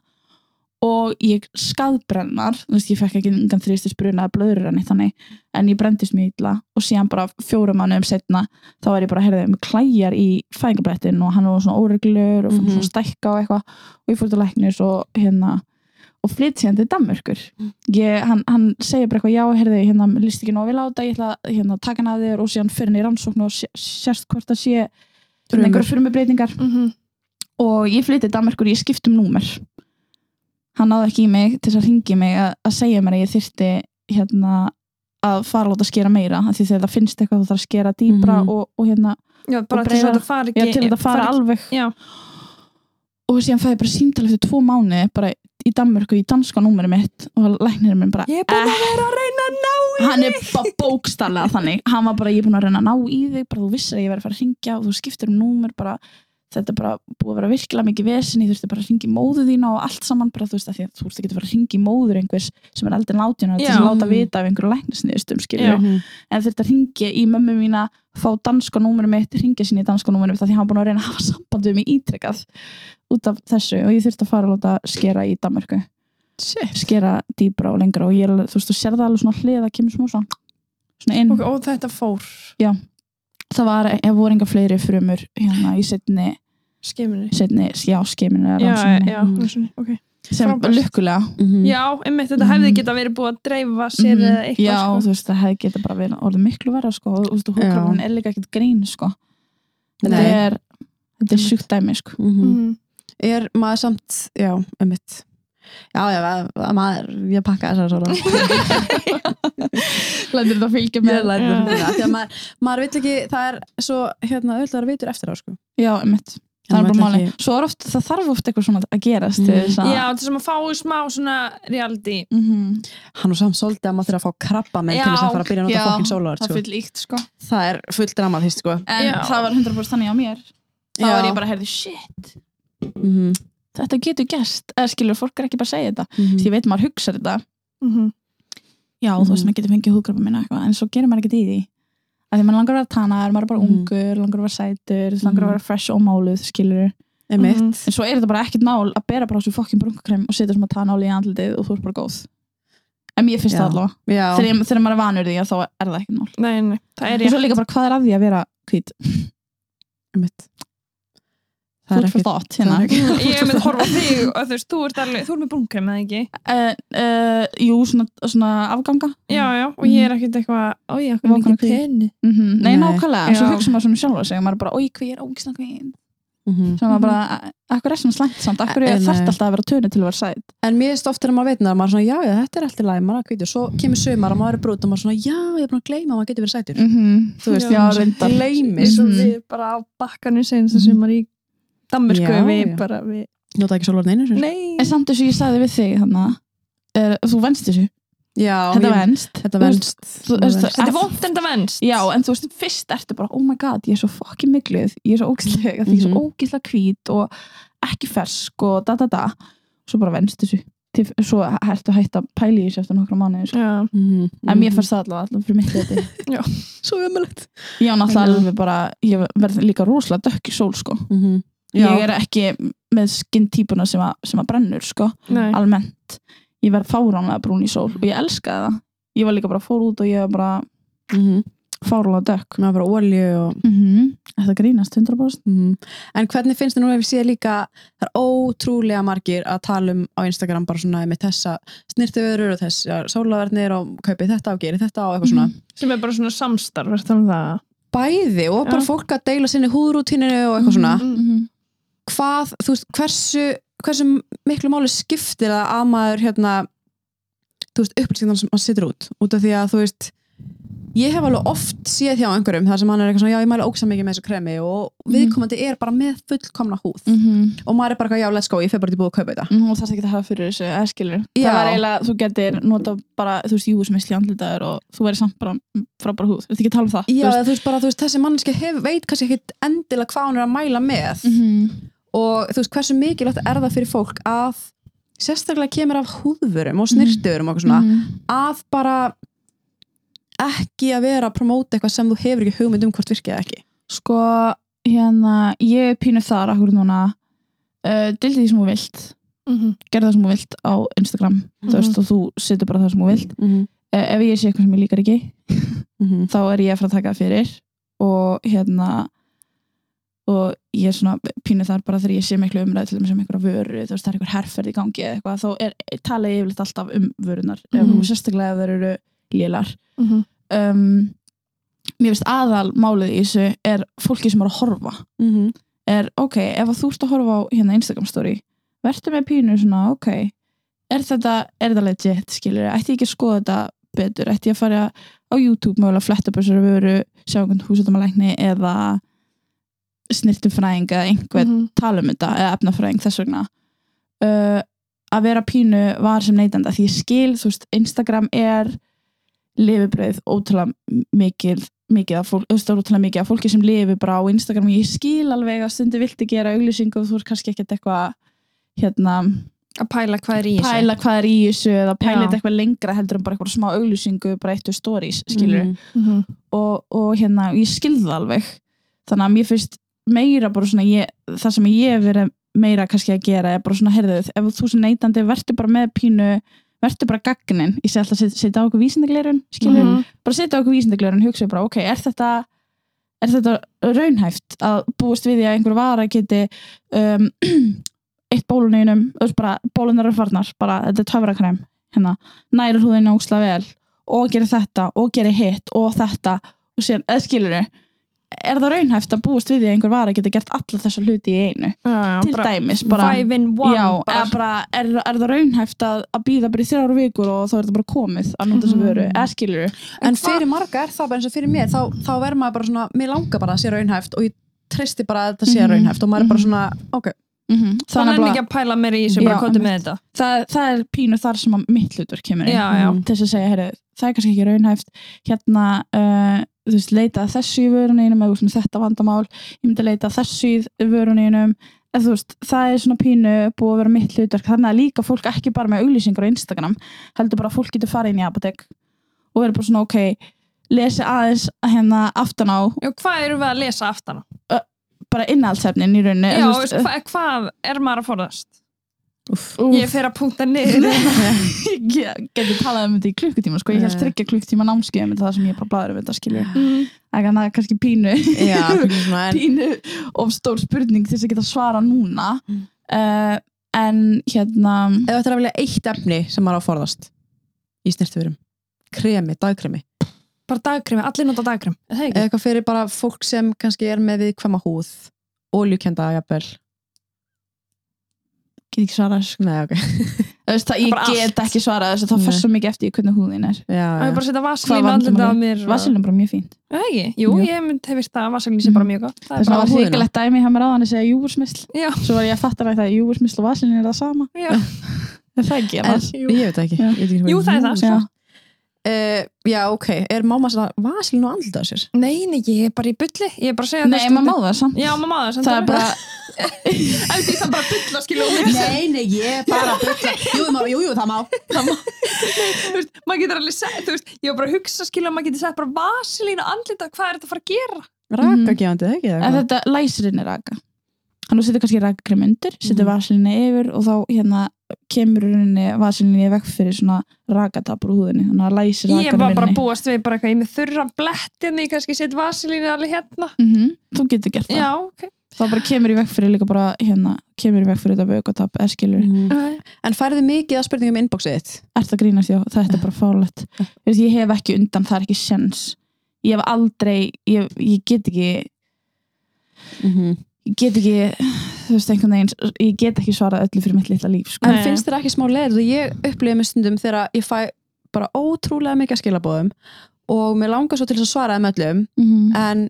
S2: og ég skadbrennar þú veist, ég fekk ekki engan þrýstis bruna eða blöður en eitt þannig, en ég brendist mjög illa og síðan bara fjórum mannum setna þá er ég bara, heyrðu, með klæjar í fæðingabrettin og hann var svona óreglur og fann
S3: Mhm.
S2: svona stækka og eitthvað og ég fór til læknis og hérna og flytt síðan til Danmörkur
S3: Mm.
S2: ég, hann, hann segir bara eitthvað, já, heyrðu, hérna mér líst ekki nóg vel á þetta, ég ætla að hérna, taka hann að þér og síðan fyrir hann í rannsókn og sé- sérst hvort það sé
S3: Frumur.
S2: einhverja frumubreitingar og ég flytti til Danmerkur ég skipti um númer hann náði ekki í mig til þess að ringi mig að, að segja mér að ég þyrfti hérna að fara að láta skera meira af því þegar það finnst eitthvað þú þarf að skera dýbra
S3: Mhm.
S2: og, og hérna,
S1: Já, bara
S2: Og
S1: til þess að
S2: breiða-
S1: það fari
S2: já,
S1: ekki.
S2: til þetta fara alveg
S1: Já.
S2: og síðan fæði ég bara símtal eftir tvo mánu bara í Danmörku í danska númeri mitt og læknirinn minn bara
S1: Ég er búin að vera að reyna að ná í.
S2: hann er bara bókstallega þannig hann var bara, ég er búin að reyna að ná í þig bara þú vissir að ég verið að fara að ringja og þú skiptir um númer bara, þetta er bara búið að vera virkilega mikið vesen, ég þurfti bara að ringja í móðu þína og allt saman bara, þú veist, af því að þú veist ekki að fara að ringja í móður einhvers sem er eldin átjana til þess
S1: Já.
S2: að láta vita af einhverju læknisniðustum, skilju
S1: Já.
S3: Mhm.
S2: en þurfti að ringja í mömmu mína fá danska númur mitt, ringja sín í danska númur mitt af því hann var búin að reyna að hafa samband við mig ítrekkað út af þessu og ég þurfti að fara að láta skera í Danmarku
S1: Shit.
S2: skera dýbra og lengra og ég er alveg, þú veist, þú sér það alveg svona hlið að kemur smá svona, svona inn
S1: Ok, og þetta fór
S2: það var, ef voru enga fleiri frumur hérna í setni,
S1: skiminu.
S2: setni já, skeminu
S1: Já, já,
S2: Mhm.
S3: Mm.
S1: svona, ok.
S2: sem
S1: frábært.
S2: lukkulega
S1: Já, einmitt, þetta hefði
S2: Mhm.
S1: geta verið búið að dreifa sér
S2: Mhm.
S1: eða eitthvað.
S2: já,
S1: sko.
S2: þú veist, það hefði geta bara verið orðið miklu verra, sko, og þú veist,
S3: Já.
S2: húkrafin er líka ekkert grín, sko
S3: Mhm.
S2: þetta
S3: Nei.
S2: er, þetta er sjúkt dæmi, sko
S1: Mhm.
S3: Er maður samt, já, emitt. Já, já, að- að maður, ég pakka þessar svona.
S2: lætur þetta fylgja
S3: Ég læt
S1: Já.
S3: um þetta. Þegar maður, maður vil ekki, það er svo, hérna, auðvitað að vitur eftir á, sko.
S2: já, emitt, það
S3: Hann
S2: er bara
S3: vill
S2: máli
S3: ekki-
S2: svo er oft, það þarf oft eitthvað svona að gerast til
S3: Mm.
S2: þess að
S1: Já, til sem að fái smá svona reality.
S2: Mhm.
S3: Hann og samt svolítið að maður þurfa að fá krabba með til þess að
S2: Já,
S3: fara að byrja að
S2: já,
S3: nota fokkin sólar,
S2: það
S3: sko.
S2: fyrir líkt, sko
S3: Það er full dramað, hýst, sko.
S2: en
S1: Já.
S2: það var 100% þannig á mér þá
S3: Já.
S2: er ég bara að herði, shit,
S3: Mm
S2: þetta getur gerst eða skilur, fólk er ekki bara að segja þetta mm.
S3: -hmm.
S2: ég veit maður hugsa þetta, Mhm.
S1: Mhm.
S2: já, þú veist, maður getur fengið húðgröpa minna eitthvað, en svo gerir maður ekkert í því af því maður langar að vera tannar, maður er bara
S3: Mhm.
S2: ungur langar að vera sætur, langar að
S3: Mhm.
S2: vera fresh og máluð skilur,
S1: Mhm.
S3: Emitt.
S2: en svo er þetta bara ekkert mál að bera bara á svo fokkin brunkakrem og setja sem að tannáli í andlitið og þú er bara góð en mér finnst
S3: Já.
S2: það allavega,
S3: Já.
S2: Mhm. þegar, ég- þegar maður er vanur því að þá er það ekkert mál,
S1: Nei, nei, það er
S2: og
S1: ég.
S2: svo líka bara hvað er að því að vera hvít,
S3: Emitt. Það er
S2: food for
S3: ekki.
S2: thought hérna
S3: ekki.
S1: Ég er með að horfa á þig og þú veist, þú ert alveg, þú ert með brúnkrem eða ekki?
S2: uh, uh, jú, svona, svona afganga
S1: Já, já, og ég er ekkert eitthvað, oi, ég er
S2: Vá, hvað
S1: ekki
S2: er
S1: penni.
S2: mm -hmm. Nei,
S3: Nei.
S2: nákvæmlega, en svo
S1: Já.
S2: hugsa maður svona sjálf að segja maður er bara, oi, hví er ógisna hvín
S3: Mhm.
S2: sem maður bara, akkur er svona slæmt samt akkur er
S3: En,
S2: þarft
S3: eh,
S2: alltaf að vera tönu til að vera sæt
S3: En mér erst ofta þegar maður veit að maður er svona, já, já, þetta er alltaf læg, maður er að kvítið. Svo kemur sömar og maður er brútt og maður er svona, já, ég er búin að gleyma að maður getur verið sætur.
S2: mm -hmm.
S3: Þú veist,
S1: Já,
S2: já,
S3: maður
S2: reyndar
S3: gleymist.
S1: eins og
S2: Mhm.
S1: við bara á bakkanu senast að sem var í Danmörku
S3: Já,
S1: við
S3: já.
S1: bara við,
S3: Nota ekki sólarni einu sinni.
S1: nei
S2: en samt þessu ég sagði við þig þannig er, þú venst þessu,
S3: Já,
S2: þetta
S3: ég-
S2: venst
S3: Þetta venst.
S2: þú, þú, þú,
S1: þetta er vond en það venst
S2: já, en þú veist, fyrst ertu bara, oh my god ég er svo fokkin mygluð, ég er svo ógislega því ég er svo
S3: Mhm.
S2: ógislega hvít og ekki fersk og da da da, svo bara venst þessu til, svo hættu að hætta að pæla í þessu eftir nokkra mánuði sko.
S1: Já.
S3: Mhm,
S2: en mér fannst það allavega allavega fyrir mitt þetta
S3: svo umulett
S2: ég á
S3: Já.
S2: náttúrulega alveg bara ég verð líka rosalega dökk í sól sko
S3: Mhm.
S2: ég er ekki með skinn típuna sem, að- sem að brennur sko
S1: Nei.
S2: almennt ég verð fáránlega brún í sól og ég elskaði það ég var líka bara fór út og ég var bara fáránlega dökk
S3: maður bara olju og
S2: mm -hmm. þetta grínast 100%
S3: Mhm. En hvernig finnst þið núna ef við séð líka það er ótrúlega margir að tala um á Instagram bara svona með þessa snirtu vörur og þessar sólaverðnir og kaupið þetta og gerið þetta og eitthvað svona
S1: sem er bara svona samstarf er það um það
S3: bæði og bara
S1: Já.
S3: fólk að deila sinni húðrútíninu og eitthvað svona
S1: Mm.
S2: -hmm.
S3: hvað, þú veist, hversu, hversu miklu máli skiptir það að maður hérna, þú veist, upplýsingar sem maður situr út, út af því að þú veist ég hef alveg oft séð þjá einhverjum þar sem hann er eitthvað svona, já, ég mæla ógsa mikið með þessu kremi og viðkomandi er bara með fullkomna húð
S2: Mm -hmm.
S3: og maður er bara, eitthvað, já, let's go, ég fer bara til búið að kaupa þetta
S2: og það er ekki að hafa fyrir þessu eða skilur
S3: Já.
S2: það var eiginlega, þú getur nota bara þú veist, jú sem er sljándlitaður og þú verður samt bara frábæra húð, þú veist ekki að tala um það
S3: Já,
S2: þú veist.
S3: eða þú veist bara, þú veist, þessi mannski hef, veit kannski ekkit endilega hvað hún er að mæla með
S2: Mm,
S3: og þú veist, hversu mikilvægt er það fyrir fólk að sérstaklega kemur af húðvörum og snirtuðurum og eitthvað svona,
S2: Mhm.
S3: að bara ekki að vera að promóta eitthvað sem þú hefur ekki hugmynd um hvort virkið eða ekki
S2: sko, hérna ég er pínu þar akkur núna uh, dildi því sem þú vilt
S1: Mhm.
S2: gerð það sem þú vilt á Instagram þú veist, og þú setur bara það sem þú vilt
S1: Mhm,
S3: mm
S2: uh, ef ég sé eitthvað sem ég líkar ekki
S3: -hmm.
S2: þá er ég að fara að taka það fyrir og hérna og ég er svona pínu þar bara þegar ég sé miklu umræði til þeim sem einhverja vöru þú veist það er einhver herferð í gangi eða eitthvað þá er, tala ég yfirleitt alltaf um vörunar mm.
S1: Mhm.
S2: um, sérstaklega ef þær eru lélar
S1: Mhm.
S2: um, mér finnst aðal málið í þessu er fólki sem er að horfa
S3: Mm -hmm.
S2: er ok, ef að þú ert að horfa á hérna Instagram story, verður með pínu svona ok, er þetta er þetta legit, skilur, ætti ég ekki að skoða þetta betur, ætti ég að fara á YouTube mögulega að fletta upp þessari vöru sjá einhvern húsatumalækni eða snirtufræðing eða einhver
S1: Mhm.
S2: tala um þetta eða efnafræðing þess vegna uh, að vera pínu var sem neytanda því ég skil, þú veist, Instagram er lifibröð ótrúlega mikil mikið af fólki, ótrúlega mikið af fólki sem lifi bara á Instagram og ég skil alveg að stundu vilti gera auglýsingu og þú ert kannski ekkert eitthvað hérna,
S1: að pæla hvað er í þessu
S2: pæla hvað er í þessu eða
S1: Já.
S2: pæla þetta eitthvað lengra heldur en bara eitthvað smá auglýsingu, bara eittu stories skilur
S1: Mhm.
S2: og, og hérna, ég skilði það alveg þannig að mér finnst meira bara svona ég, það sem ég hef verið meira kannski að gera er bara svona, heyrðu, ef þú sem neytandi verður bara með pínu, verður bara gagnin ég segi alltaf, set- setja á okkur vísindagleirun skilur,
S1: Mhm.
S2: bara setja á okkur vísindagleirun hugsa bara, ok, er þetta er þetta raunhæft að búast við því að einhver vara geti um, eitt bóluneinum bara, bólunar eru farnar, bara þetta er töfrakrem hérna, næra húðinu ósla vel og gera þetta og gera hitt og þetta og síðan, eða skilur er það raunhæft að búast við því að einhver vara geti gert alla þessa hluti í einu
S1: Já, já,
S2: til
S1: bara
S2: dæmis bara,
S1: five in one
S2: já,
S1: bara.
S2: eða bara er, er það raunhæft að, að býða bara í þrjára vikur og þá er þetta bara komið að nota
S1: Mhm.
S2: sem vöru, eða skilur
S3: en fyrir marga er það bara eins og fyrir mér þá, þá verður maður bara svona, mér langar bara að sé raunhæft og ég treysti bara að þetta sé
S2: Mhm.
S3: raunhæft og maður er bara svona, ok
S2: mm -hmm.
S1: það er ekki að pæla mér í þessu bara
S2: Já,
S1: hvað er með þetta
S2: það, það er pínu þar sem að mitt hlutverk kemur inn.
S1: Já, já.
S2: Mhm. til þess að segja, heyru, það er kannski ekki raunhæft hérna, uh, þú veist, leita að þessu í vöruneinum eða þú veist, með þetta vandamál ég myndi leita að þessu í vöruneinum eða þú veist, það er svona pínu búið að vera mitt hlutverk, þannig að líka fólk ekki bara með auglýsingar á Instagram, heldur bara að fólk getur farið inn í apotek og verður bara svona ok, lesi aðeins hérna aftan á,
S1: Já, hvað erum við að lesa aftan á?
S2: bara innhaldsefnin í rauninni,
S1: Já,
S2: eða
S1: veist, hva, hvað er maður að forðast?
S2: Úff.
S1: Ég fer að punkta niður
S2: ég geti talað um þetta í klukkutíma sko. ég held
S3: Nei.
S2: tryggja klukkutíma námskeið um þetta það sem ég bara blæður um þetta skilur það er kannski- kannski pínu,
S3: já, svona, en,
S2: pínu of stór spurning til þess að geta svara núna
S3: Mm.
S2: uh, en hérna
S3: ef þetta er að vilja eitt efni sem maður á að forðast í snirtuverum kremi, dagkremi,
S1: Bara dagkrimi, allir nota dagkrim Er það ekki?
S3: eða eitthvað fyrir bara fólk sem kannski er með viðkvæma húð oljukenda, jafnvel
S2: get ekki svarað þessu, sko.
S3: Nei, ok.
S2: Þú veist, það, ég
S1: Bara
S2: get
S1: allt.
S2: ekki svarað þessu það
S3: Nei.
S2: fær svo mikið eftir í hvernig húðin er
S3: Já,
S1: Á
S3: já.
S1: ég bara að setja
S2: Hvað
S1: vaselín allir
S2: vandamál er?
S1: á mér og-
S2: vasilin er bara mjög fínt
S1: Er Það ekki? Jú,
S2: Jú.
S1: ég myndi hef vist að vaselín sé bara mjög gott Það
S2: þess
S1: er
S3: bara
S2: vegna
S3: á
S2: var
S3: húðina.
S2: hrikalegt dæmi hjá mér áðan að segja júfursmisl
S1: Já.
S2: svo var ég að fatta rætt að júfursmisl og vasilin er það sama
S1: bara Já.
S2: en það er ekki
S3: En,
S2: annars.
S3: ég veit það ekki.
S2: Já.
S3: Ég veit ekki hvað
S1: Jú,
S3: ég-
S1: það er það
S2: Já.
S3: Uh, já, ok, er máma svona vasilín og andlita á sér?
S1: Nei, nei, ég er bara í bulli Ég er bara að segja
S2: Nei, maður má það samt.
S1: Já, maður má það samt
S2: Það er bara,
S1: Ef því það bara bulla, skilja og lesa
S3: Nei, nei, ég er bara að bylla Jú, má, jú, jú, það má
S1: Þú veist, maður getur alveg sett Þú veist, ég var bara að hugsa, skilja Maður getur sett bara vasilín og andlita Hvað er þetta að fara að gera?
S3: Rakagjandi, mm. ekki
S2: en þetta læsirinn er raka. Þannig þú setur kannski rakakrem undir, setur
S3: Mhm.
S2: vaselinni yfir og þá hérna kemur rauninni vaselinni í vekk fyrir svona rakatapur úr húðinni. Þannig að læsir
S1: Ég var bara að
S2: rakakrem
S1: búast við bara eitthvað Ég er með þurran blett hérna Ég kannski set vasilín alveg hérna
S2: inni. Mhm, Þú getur gert það.
S1: Já, ok
S2: Þá bara kemur í vekk fyrir líka bara hérna, kemur í vekk fyrir þetta vökkatap, eða
S1: Mhm.
S2: skilur.
S3: mm. En færðu mikið að spurningum í inboxið þitt?
S2: ert að grínast já, þetta er bara fárlegt Þú veist, ég hef ekki undan, það er ekki sens ég hef aldrei, ég, ég get ekki
S3: Mm
S2: ég get ekki, þú veist, einhvern veginn ég get ekki svarað öllu fyrir mitt litla líf sko.
S3: En
S1: Nei.
S3: finnst þér ekki smá leið og ég upplifið mér stundum þegar ég fæ bara ótrúlega mikið að skilabóðum og mér langar svo til þess að svara þeim öllum
S2: Mhm.
S3: en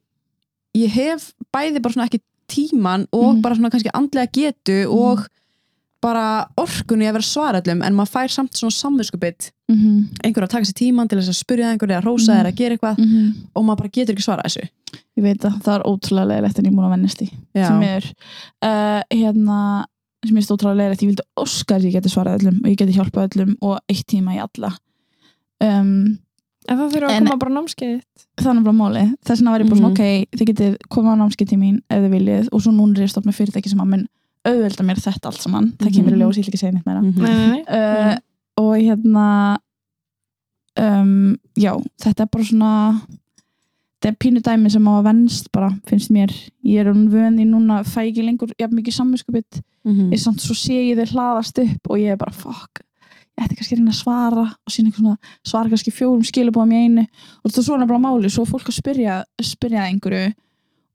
S3: ég hef bæði bara svona ekki tíman og
S2: Mhm.
S3: bara svona kannski andlega getu og bara orkunni að vera að svara öllum en maður fær samt svona samvinskupið
S2: Mhm.
S3: einhver að taka sér tíman til þess að spyrja einhver eða rósa
S2: Mhm.
S3: eða að gera eitthvað
S2: Mhm.
S3: og maður bara getur ekki svara þessu
S2: ég veit að það er ótrúlega leiðilegt en ég er múin að vennast í sem
S3: Já,
S2: er, uh, hérna sem ég stóð trálega leiðilegt, ég vildi óska að ég geti svarað öllum og ég geti hjálpað öllum og eitt tíma í alla um,
S1: En það fyrir að
S2: En-
S1: koma bara námskeið
S2: þannig bara máli þess vegna var ég bara svona, ok, þið getið komað á námskeið til mín ef þið viljið og svo núna er ég að stopna fyrirtæki sem að mun auðvelda mér þetta allt saman það kemur í ljós, ég ætla ekki að segja neitt meira
S3: Mhm.
S1: nei,
S2: uh, og hérna um, já, þetta er bara svona þetta er pínu dæmi sem á að venst bara, finnst mér ég er um vöndi núna, fæ ekki lengur jafn mikið samvinskupið,
S3: Mhm.
S2: ég samt svo sé ég þið hlaðast upp og ég er bara, fuck ég ætti kannski að reyna að svara og sína eitthvað svona, svara kannski fjórum skilabóðum í einu og þetta er svona bara máli, svo er fólk að spyrja, spyrja að einhverju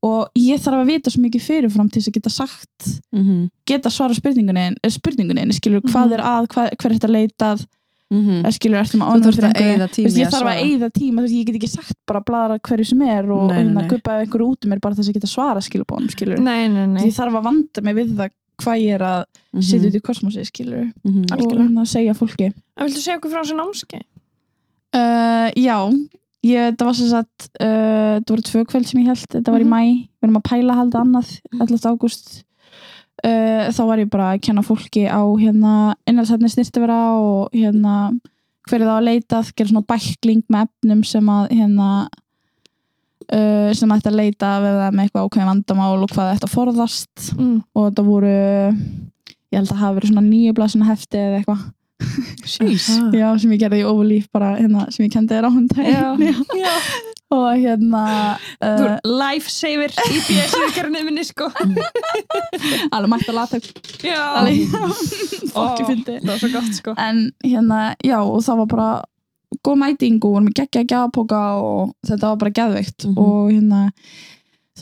S2: og ég þarf að vita svo mikið fyrirfram til þess að geta sagt
S3: Mhm.
S2: geta svara spurningunin, spurningunin skilur hvað er að, hvað, hver er þetta leitað
S3: Mhm.
S2: mm. skilur ertum að
S3: Þú
S2: ánum
S3: þarfst að eigða tími
S2: ég þarf að eigða tíma þess að ég get ekki sagt bara að blara hverju sem er og
S3: Nei, nei,
S2: unna
S3: nei.
S2: að guppa einhverju út um mér bara þess að geta svara skilubónum skilur
S1: nei, nei, nei.
S2: ég þarf að vanda mig við það hvað ég er að
S3: Mhm.
S2: setja út í kosmosi skilur
S3: Mhm.
S2: og
S1: Algjörlega.
S2: hérna segja fólki
S1: En viltu segja okkur frá þessu námskeið?
S2: Uh, já, ég, það var sem sagt uh, það voru tvö kvöld sem ég held þetta var í
S1: Mhm.
S2: mæ, við erum að pæla að halda annað 11. ágúst uh, þá var ég bara að kenna fólki á hérna, innhaldsætni snirtivera og hérna, hverju það á að leitað gera svona bækling með efnum sem að hérna uh, sem ætti að leita við það með eitthvað ákveðin vandamál og hvað þetta forðast
S1: Mm.
S2: og þetta voru ég held að hafa verið svona nýju blasina hefti eða eitthvað
S3: Jeez.
S2: Já, sem ég gerði í Overleaf bara hérna, sem ég kendi þér á hún daginn Já.
S1: Já.
S2: og hérna
S1: Þú
S2: uh,
S1: er lifesaver í BS-vikarni minni sko
S2: alveg mætt að lata
S1: Já,
S2: alveg
S1: Ó,
S2: fólki fyndi
S1: það var svo gott sko
S2: en hérna, já, og það var bara góð mæting og vorum að geggja að gjafapóka og þetta var bara geðveikt
S3: Mhm.
S2: og hérna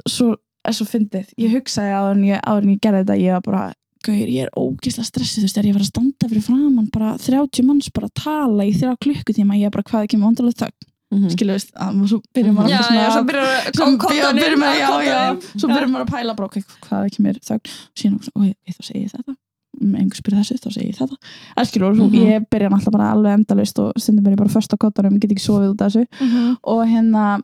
S2: svo, er svo fyndið, ég hugsaði áður en ég, áður en ég gerði þetta, ég var bara Gaur, ég er ógeðslega stressið, þú veist, er ég að fara að standa fyrir framann, bara 30 manns bara að tala í þrjá klukkutíma, ég er bara hvað það kemur vandalega þögg,
S3: Mhm.
S2: skilju, veist, að svo byrjum
S1: Mhm.
S2: maður
S1: Já,
S2: alveg svona
S1: já,
S2: að-
S1: svo byrjar
S2: Svo
S1: að
S2: byrja- byrjum maður- já, já.
S1: kontanum
S2: Svo
S1: Já.
S2: byrjum maður að pæla bara okay, hvað er ekki mér þögn og síðan ok, ok, þá segi ég þetta um einhver spyrir þessu, þá segi ég þetta Eskilur, mm
S3: Mhm.
S2: ég byrja náttúrulega bara alveg endalaust og stundum er ég bara först á kottanum, get ekki sofið út af þessu og hérna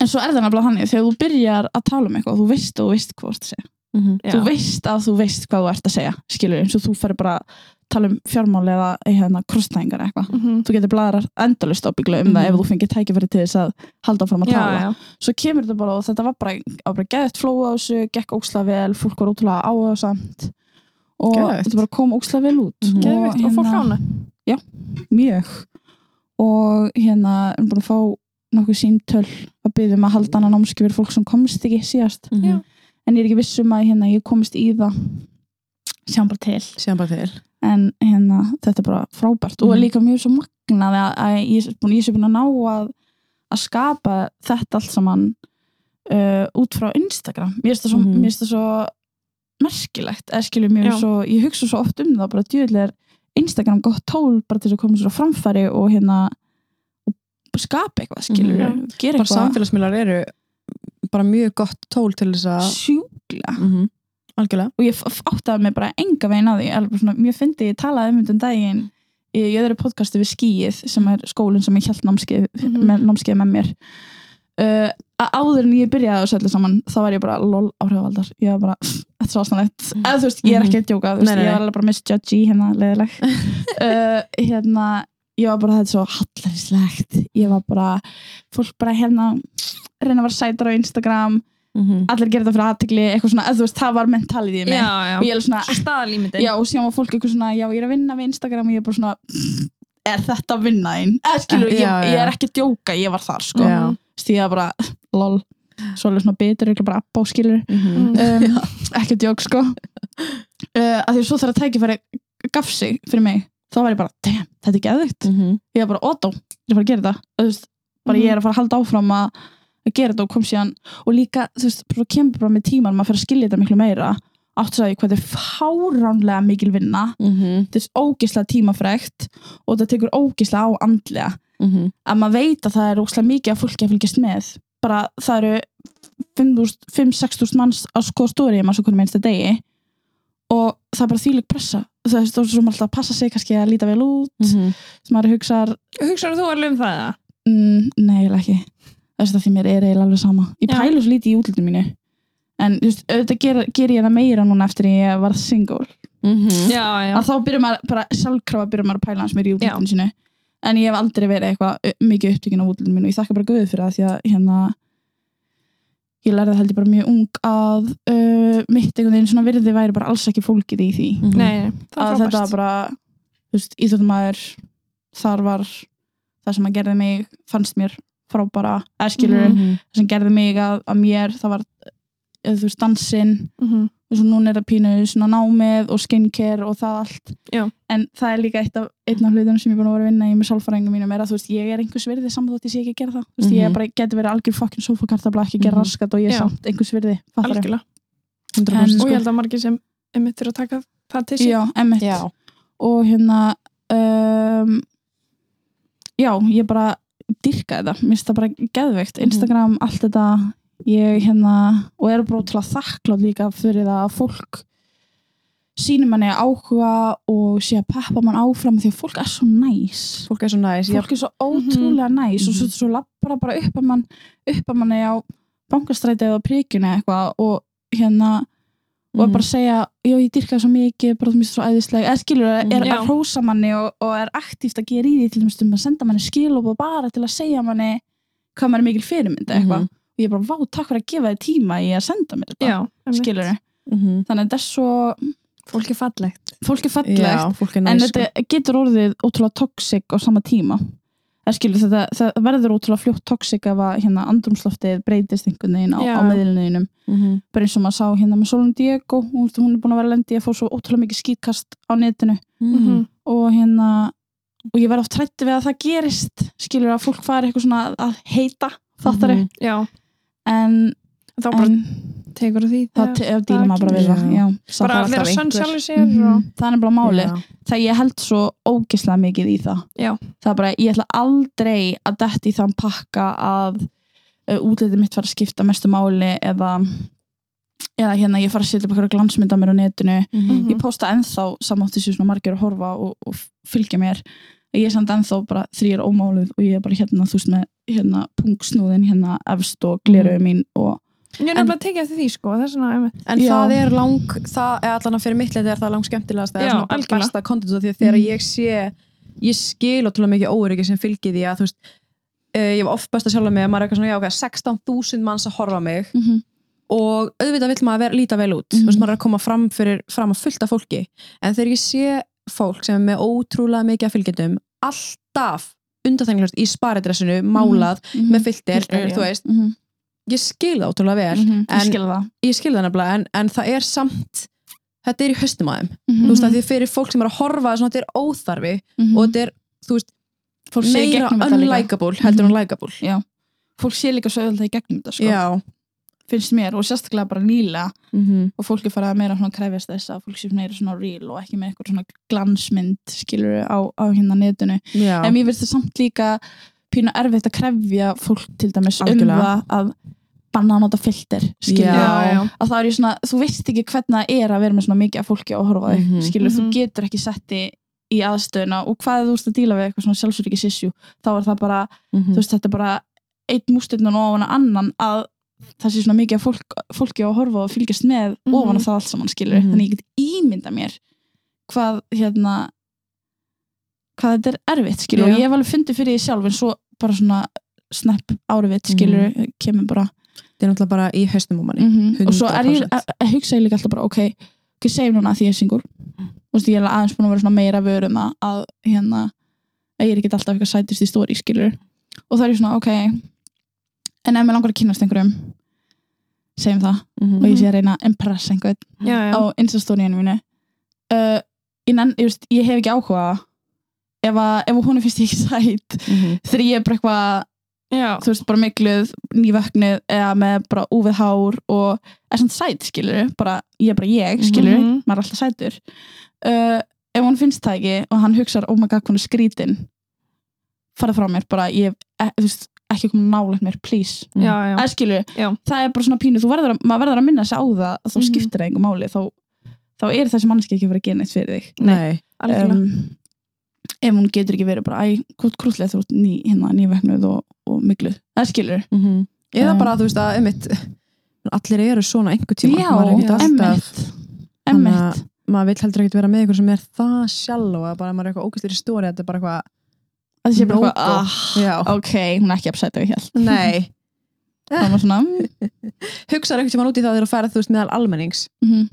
S2: en svo er það nefnilega þannig, þegar þú byrjar að tala um eitthvað, þú veist og þú veist hvað þú ert að segja
S3: Mhm.
S2: þú veist að þú veist hvað þú ert að segja skilur, eins og þú fyrir bara að tala um fjármál eða hérna, krosstæðingar eða eitthvað þú getur bladrar endalaust ábyggla um það
S3: Mhm.
S2: ef þú fengir tækifæri til þess að halda áfram að
S1: Já,
S2: tala
S1: já,
S2: svo kemur þetta bara og þetta var bara, það var bara geðett flóa á þessu, gekk óksla vel fólk var ótrúlega áhugasamt og
S3: Geðveikt.
S2: þetta bara kom óksla vel út
S3: Mhm.
S1: geðvikt og fólk
S2: hérna,
S1: ána
S2: mjög og hérna, við erum búin að fá nokkuð símtöl að byggja um að halda annan námskeið fyrir fólk sem komst ekki síðast
S1: Já.
S2: en ég er ekki viss um að hérna, ég komist í það sjáum bara til
S3: Síðan bara til
S2: en hérna, þetta er bara frábært og
S3: Mhm.
S2: líka mjög svo magnað að, að ég er búin, ég sé búin að ná að, að skapa þetta allt saman uh, út frá Instagram mér finnst það svo,
S3: Mhm.
S2: mm. það svo merkilegt, eða skilur mér
S1: Já.
S2: svo ég hugsa svo oft um það, bara djúðlega er Instagram gott tól bara til þess að koma sér á framfæri og hérna og skapa eitthvað, skilur mm
S1: Mhm.
S2: gera
S3: Bara
S2: eitthvað
S3: samfélagsmiðlar eru bara mjög gott tól til þess að
S2: sjúkla
S3: -hmm. Algjörlega
S2: og ég f- f- áttaði mig bara enga veginn að því alveg bara svona, mjög fyndi ég talaði um þetta um daginn í í öðru podcastu við skýið sem er skólinn sem ég hjælt námskeið,
S1: Mhm.
S2: með, námskeið með mér uh, að áður en ég byrjaði á þessu öllu saman þá var ég bara lol áhrifaldar ég var bara, pff, þetta er svo ástæðanlegt eða þú veist, ég er ekki að djóka þú veist,
S3: Mhm. Nei, nei,
S2: ég
S3: nei.
S2: var alveg bara misjudgy hérna leðileg uh, hérna, ég var bara þetta er svo hallarislegt ég var bara, fólk bara hérna reyna að vera sætar á Instagram allir gera þetta fyrir aðtegli, eitthvað svona eða þú veist, það var mentalið í mig
S1: já, já.
S2: og ég er svona,
S1: Svo staðalímyndin
S2: Já, og síðan var fólk eitthvað svona, já, ég er að vinna við Instagram og ég er bara svona, er þetta að vinna einn? Eða skilur, ég,
S3: Eh, Já, já.
S2: ég er ekki að djóka, ég var þar, sko.
S3: Já.
S2: Því að bara, lol, svo er svona bitur, ekki bara abba á skilur,
S3: Mhm.
S2: um, ekki að djók, sko. Uh, að því að svo þegar tækifæri gaf sig fyrir mig, þá var ég bara, damn, þetta er geðvikt.
S3: Mhm.
S2: Ég er bara, ótó, ég er bara að gera þetta. Þú veist, bara ég er að fara að halda áfram að að gera þetta og kom síðan og líka, þú veist, bara kemur bara með tíman maður fyrir að skilja þetta miklu meira áttu svo að ég hvað þetta er fáránlega mikil vinna
S3: Mhm.
S2: þetta er ógislega tímafrekt og þetta tekur ógislega á andlega
S3: Mhm.
S2: að maður veit að það er ógislega mikið að fólki að fylgjast með bara það eru 5.000 5-6.000 manns á sko stóri manns okkur minnsta degi og það er bara þýlik pressa það er stóð sem alltaf að passa sig kannski að líta vel út
S3: Mhm.
S2: sem maður hugsar,
S1: Hugsar þú alveg um það? eða?
S2: mm, nei, eiginlega ekki þess að því mér er eiginlega alveg sama ég
S1: Já.
S2: pælu svo lítið í útlitinu mínu en þú veist, auðvitað ger, ger ég það meira núna eftir að ég var single
S3: Mhm.
S1: Já, já.
S2: að þá byrjar maður, bara sjálfkrafa byrjar maður að pæla hans meir í
S1: Já.
S2: útlutinu sinu en ég hef aldrei verið eitthvað ö- mikið upptökin á útlutinu mínu og ég þakka bara guðið fyrir það því að hérna ég lærði held ég bara mjög ung að uh, mitt einhvern veginn svona virði væri bara alls ekki fólkið í því
S3: Mhm.
S1: Nei, nei, það
S2: að
S1: er
S2: þetta var
S1: frábært.
S2: bara þú veist, íþjóttumæður þar var það sem að gerði mig fannst mér frábara eða skilur
S1: Mhm.
S3: Mhm.
S2: það sem gerði mig að, að mér það var eða þú veist dansinn
S1: Mhm.
S2: og svo núna er það pínu svona námið og skincare og það allt
S1: Já.
S2: en það er líka eitt af, einn af hlutunum sem ég er búin að vera að vinna í með sálfræðingum mínum er að þú veist, ég er einhvers virði saman þótt ég sé ekki að gera það þú veist, ég er
S3: Mhm.
S2: bara, geti verið algjör fokkin sofakartabla ekki að gera
S3: Mhm.
S2: raskat og ég er
S1: Já.
S2: samt einhvers virði fattarðu?
S1: Algjörlega.
S3: 100%
S1: Og ég
S3: sko.
S1: held að margir sem er mittur að taka það til sín.
S2: já, emmitt
S3: Já.
S2: og hérna um, já, ég bara dyrka þetta, mér finnst það bara geðveikt Instagram, allt þetta ég hérna, og er bara til að þakla líka fyrir það að fólk sýnir manni áhuga og sé að peppa mann áfram því að fólk er svo næs
S3: Fólk er svo næs. Ég-
S2: fólk er svo ótrúlega næs og svo,
S3: Mhm.
S2: svo lappar það bara upp að mann upp að manni á bankastræti eða príkjunni eða eitthvað og hérna og er
S3: Mhm.
S2: bara að segja, já ég dyrka það svo mikið bara þú mér svo æðisleg, eða skilur er,
S3: Mhm,
S2: er
S1: Já.
S2: að hrósa manni og, og er aktíft að gera í því til dæmis um að senda manni skil og bara til að segja manni hvað maður er mikil fyrirmynd eða eitthvað
S3: Mhm.
S2: og ég er bara, vá, takk fyrir að gefa þið tíma í að senda mér þetta,
S1: einmitt.
S2: skilur
S3: Mhm.
S2: þannig að þetta er svo,
S1: Fólk er fallegt.
S2: fólk er fallegt
S3: Já, fólk er næs.
S2: en
S3: sko.
S2: þetta getur orðið ótrúlega toxic á sama tíma það, skilur, þetta, það verður ótrúlega fljótt toxic ef að hérna, andrumsloftið breytist einhvern veginn á,
S1: Já.
S2: á meðluninum
S3: Mhm.
S2: bara eins og maður sá hérna með Solon Diego hún hún er búin að vera lendi að fá svo ótrúlega mikið skýtkast á netinu
S1: Mm-hmm.
S3: Mhm.
S2: og hérna og ég verð oft trætti við að það gerist skilur að fólk fari eitthvað svona að- að heita þáttari
S3: Mhm.
S1: Já,
S2: en,
S1: þá bara
S2: en
S1: tekur því.
S2: það te- ef dýra maður bara við það
S3: Já.
S2: já,
S1: það bara
S2: það
S1: allir að
S3: alltaf
S1: sönn
S3: einhver.
S1: sjálfur sér og...
S2: Mhm. það er bara málið
S3: Já.
S2: það ég held svo ógislega mikið í það
S1: Já.
S2: það er bara, ég ætla aldrei að detti í þann pakka að uh, útlitið mitt fara að skipta mestu máli eða, eða hérna ég fara að setja upp eitthvað glansmynd á mér á netinu
S3: Mhm.
S1: Mhm.
S2: ég posta ennþá samátti sem svona margir að horfa og, og fylgja mér ég er samt ennþá bara þrýr ómáluð og ég er bara hérna, þú veist með hérna pungsnúðin hérna efst og gleruðu mín og
S1: Ég er nefnilega að tekja eftir því, sko. Það er svona, einmitt.
S3: En
S2: Já.
S3: það er lang, það er allan að fyrir mitt leiti er það lang skemmtilegast það
S1: Já,
S3: er svona bara
S1: algjörlega.
S3: besta kontent af því að þegar
S2: Mm.
S3: ég sé ég skil ótrúlega mikið óöryggi sem fylgir því að þú veist, uh, ég var oft best að sjálfa mig að maður er eitthvað svona, já ok, 16.000 manns að horfa á mig
S2: mm -hmm.
S3: og auðvitað vill maður ver, líta vel út
S2: Mhm.
S3: þú veist, maður er að koma fram fyrir, fram að fullta fólki en þegar ég sé fólk sem er með ótrúlega mikið að fylgjendum alltaf undarþenglust í
S2: Mhm.
S3: sparidressinu, málað með fylgdir,
S1: Filter, já.
S3: þú veist ég skil það ótrúlega vel,
S2: Mhm. ég
S3: En-
S2: skil það
S3: ég skil það nefnilega en, en það er samt, þetta er í höstum aðeim
S2: Mhm.
S3: þú veist, að því fyrir fólk sem er að horfa svona, þetta er óþarfi
S2: Mhm.
S3: og þetta er, þú veist,
S2: Fólk sér í
S3: meira
S2: gegnum þetta líka. Mhm.
S3: unlikable heldur en sko. likable
S2: fólk sé líka svo auðvitað í gegnum þetta sko.
S3: Já,
S2: finnst mér og sérstaklega bara nýla
S3: mm -hmm.
S2: og fólki fara að meira svona krefjast þess að fólk sé meira svona real og ekki með eitthvað svona glansmynd skilur á, á hérna netinu
S3: já.
S2: en mér finnst það samt líka pínu erfitt að krefja fólk til dæmis
S3: Algjörlega.
S2: um það að banna að nota filter skilur
S3: Já.
S2: að það er ég svona, þú veist ekki hvernig það er að vera með svona mikið af fólki að horfa á þig
S3: Mhm.
S2: skilur,
S1: Mhm.
S2: þú getur ekki setti í aðstöðuna og hvað ef þú ert að díla við eitthvað svona sjálfsöryggis issue þá er það bara,
S3: Mhm.
S2: þú veist, þetta er bara einn mústirnun ofan að annan að það sé svona mikið að fólk, fólki á að horfa og fylgjast með
S1: Mhm.
S2: ofan að það allt saman skilur
S3: Mhm.
S2: þannig ég get ímynda mér hvað hérna hvað þetta er erfitt skilur
S3: Já.
S2: og ég hef alveg fundið fyrir því sjálf en svo bara svona snapp árið skilur
S3: Mhm.
S2: kemur bara
S3: þetta er náttúrulega bara í hausnum á manni
S2: Mhm. og svo er ég
S3: 100%.
S2: að að hugsa ég líka alltaf bara ok, ok, segjum núna að því ég er singur og veist, ég er alveg aðeins búin að vera svona meira vörum að, að hérna að ég er ekki alltaf eitthvað sætist í stóri skilur og það er ég svona ok en ef mér langar að kynast einhverjum segjum það og
S3: Mhm.
S2: ég sé að reyna að impressa einhvern
S1: já, já.
S2: á instastoríunum mínu uh, ég, nenn, ég, veist, ég hef ekki áhuga ef, að, ef hún finnst ég ekki sæt þegar ég er bara eitthvað
S1: já.
S2: þú veist, bara mikluð, nývöknuð eða með bara úfið hár og er svona sæt, skilur, bara ég er bara ég, skilur,
S1: Mhm.
S2: maður er alltaf sætur uh, ef hún finnst það ekki og hann hugsar, oh my god, hún er skrítin fara frá mér, bara ég e, þú veist, ekki koma nálega mér, please
S1: já, já.
S2: eða skilur,
S1: Já.
S2: það er bara svona pínu þú verður að, maður verður að minna sig á það þá
S1: Mhm.
S2: skiptir það einhver máli, þá þá er þessi mannski ekki að vera að gera neitt fyrir þig
S3: nei,
S1: algjörlega.
S2: um, ef hún getur ekki verið bara æ, hvort krútlega þú ert ný, hérna, nýveknuð og, og mikluð, það skilur
S3: eða
S2: Um.
S3: bara þú veist að einmitt, allir eru svona einhver tíma maður er ekkert
S1: já.
S3: alltaf
S2: emmitt emmitt,
S3: maður vill heldur ekkert vera með ykkur sem er það sjálf og að bara maður er eitthvað ógæstur í stóri þetta er bara eitthvað,
S2: að það sé bara
S3: no
S2: eitthvað ah,
S3: já,
S2: ok, hún er ekki upset ef ég held
S3: nei
S2: það var svona mm,
S3: hugsaður einhvern tíma út í það þegar þú ferð þú veist meðal almennings
S2: mhm.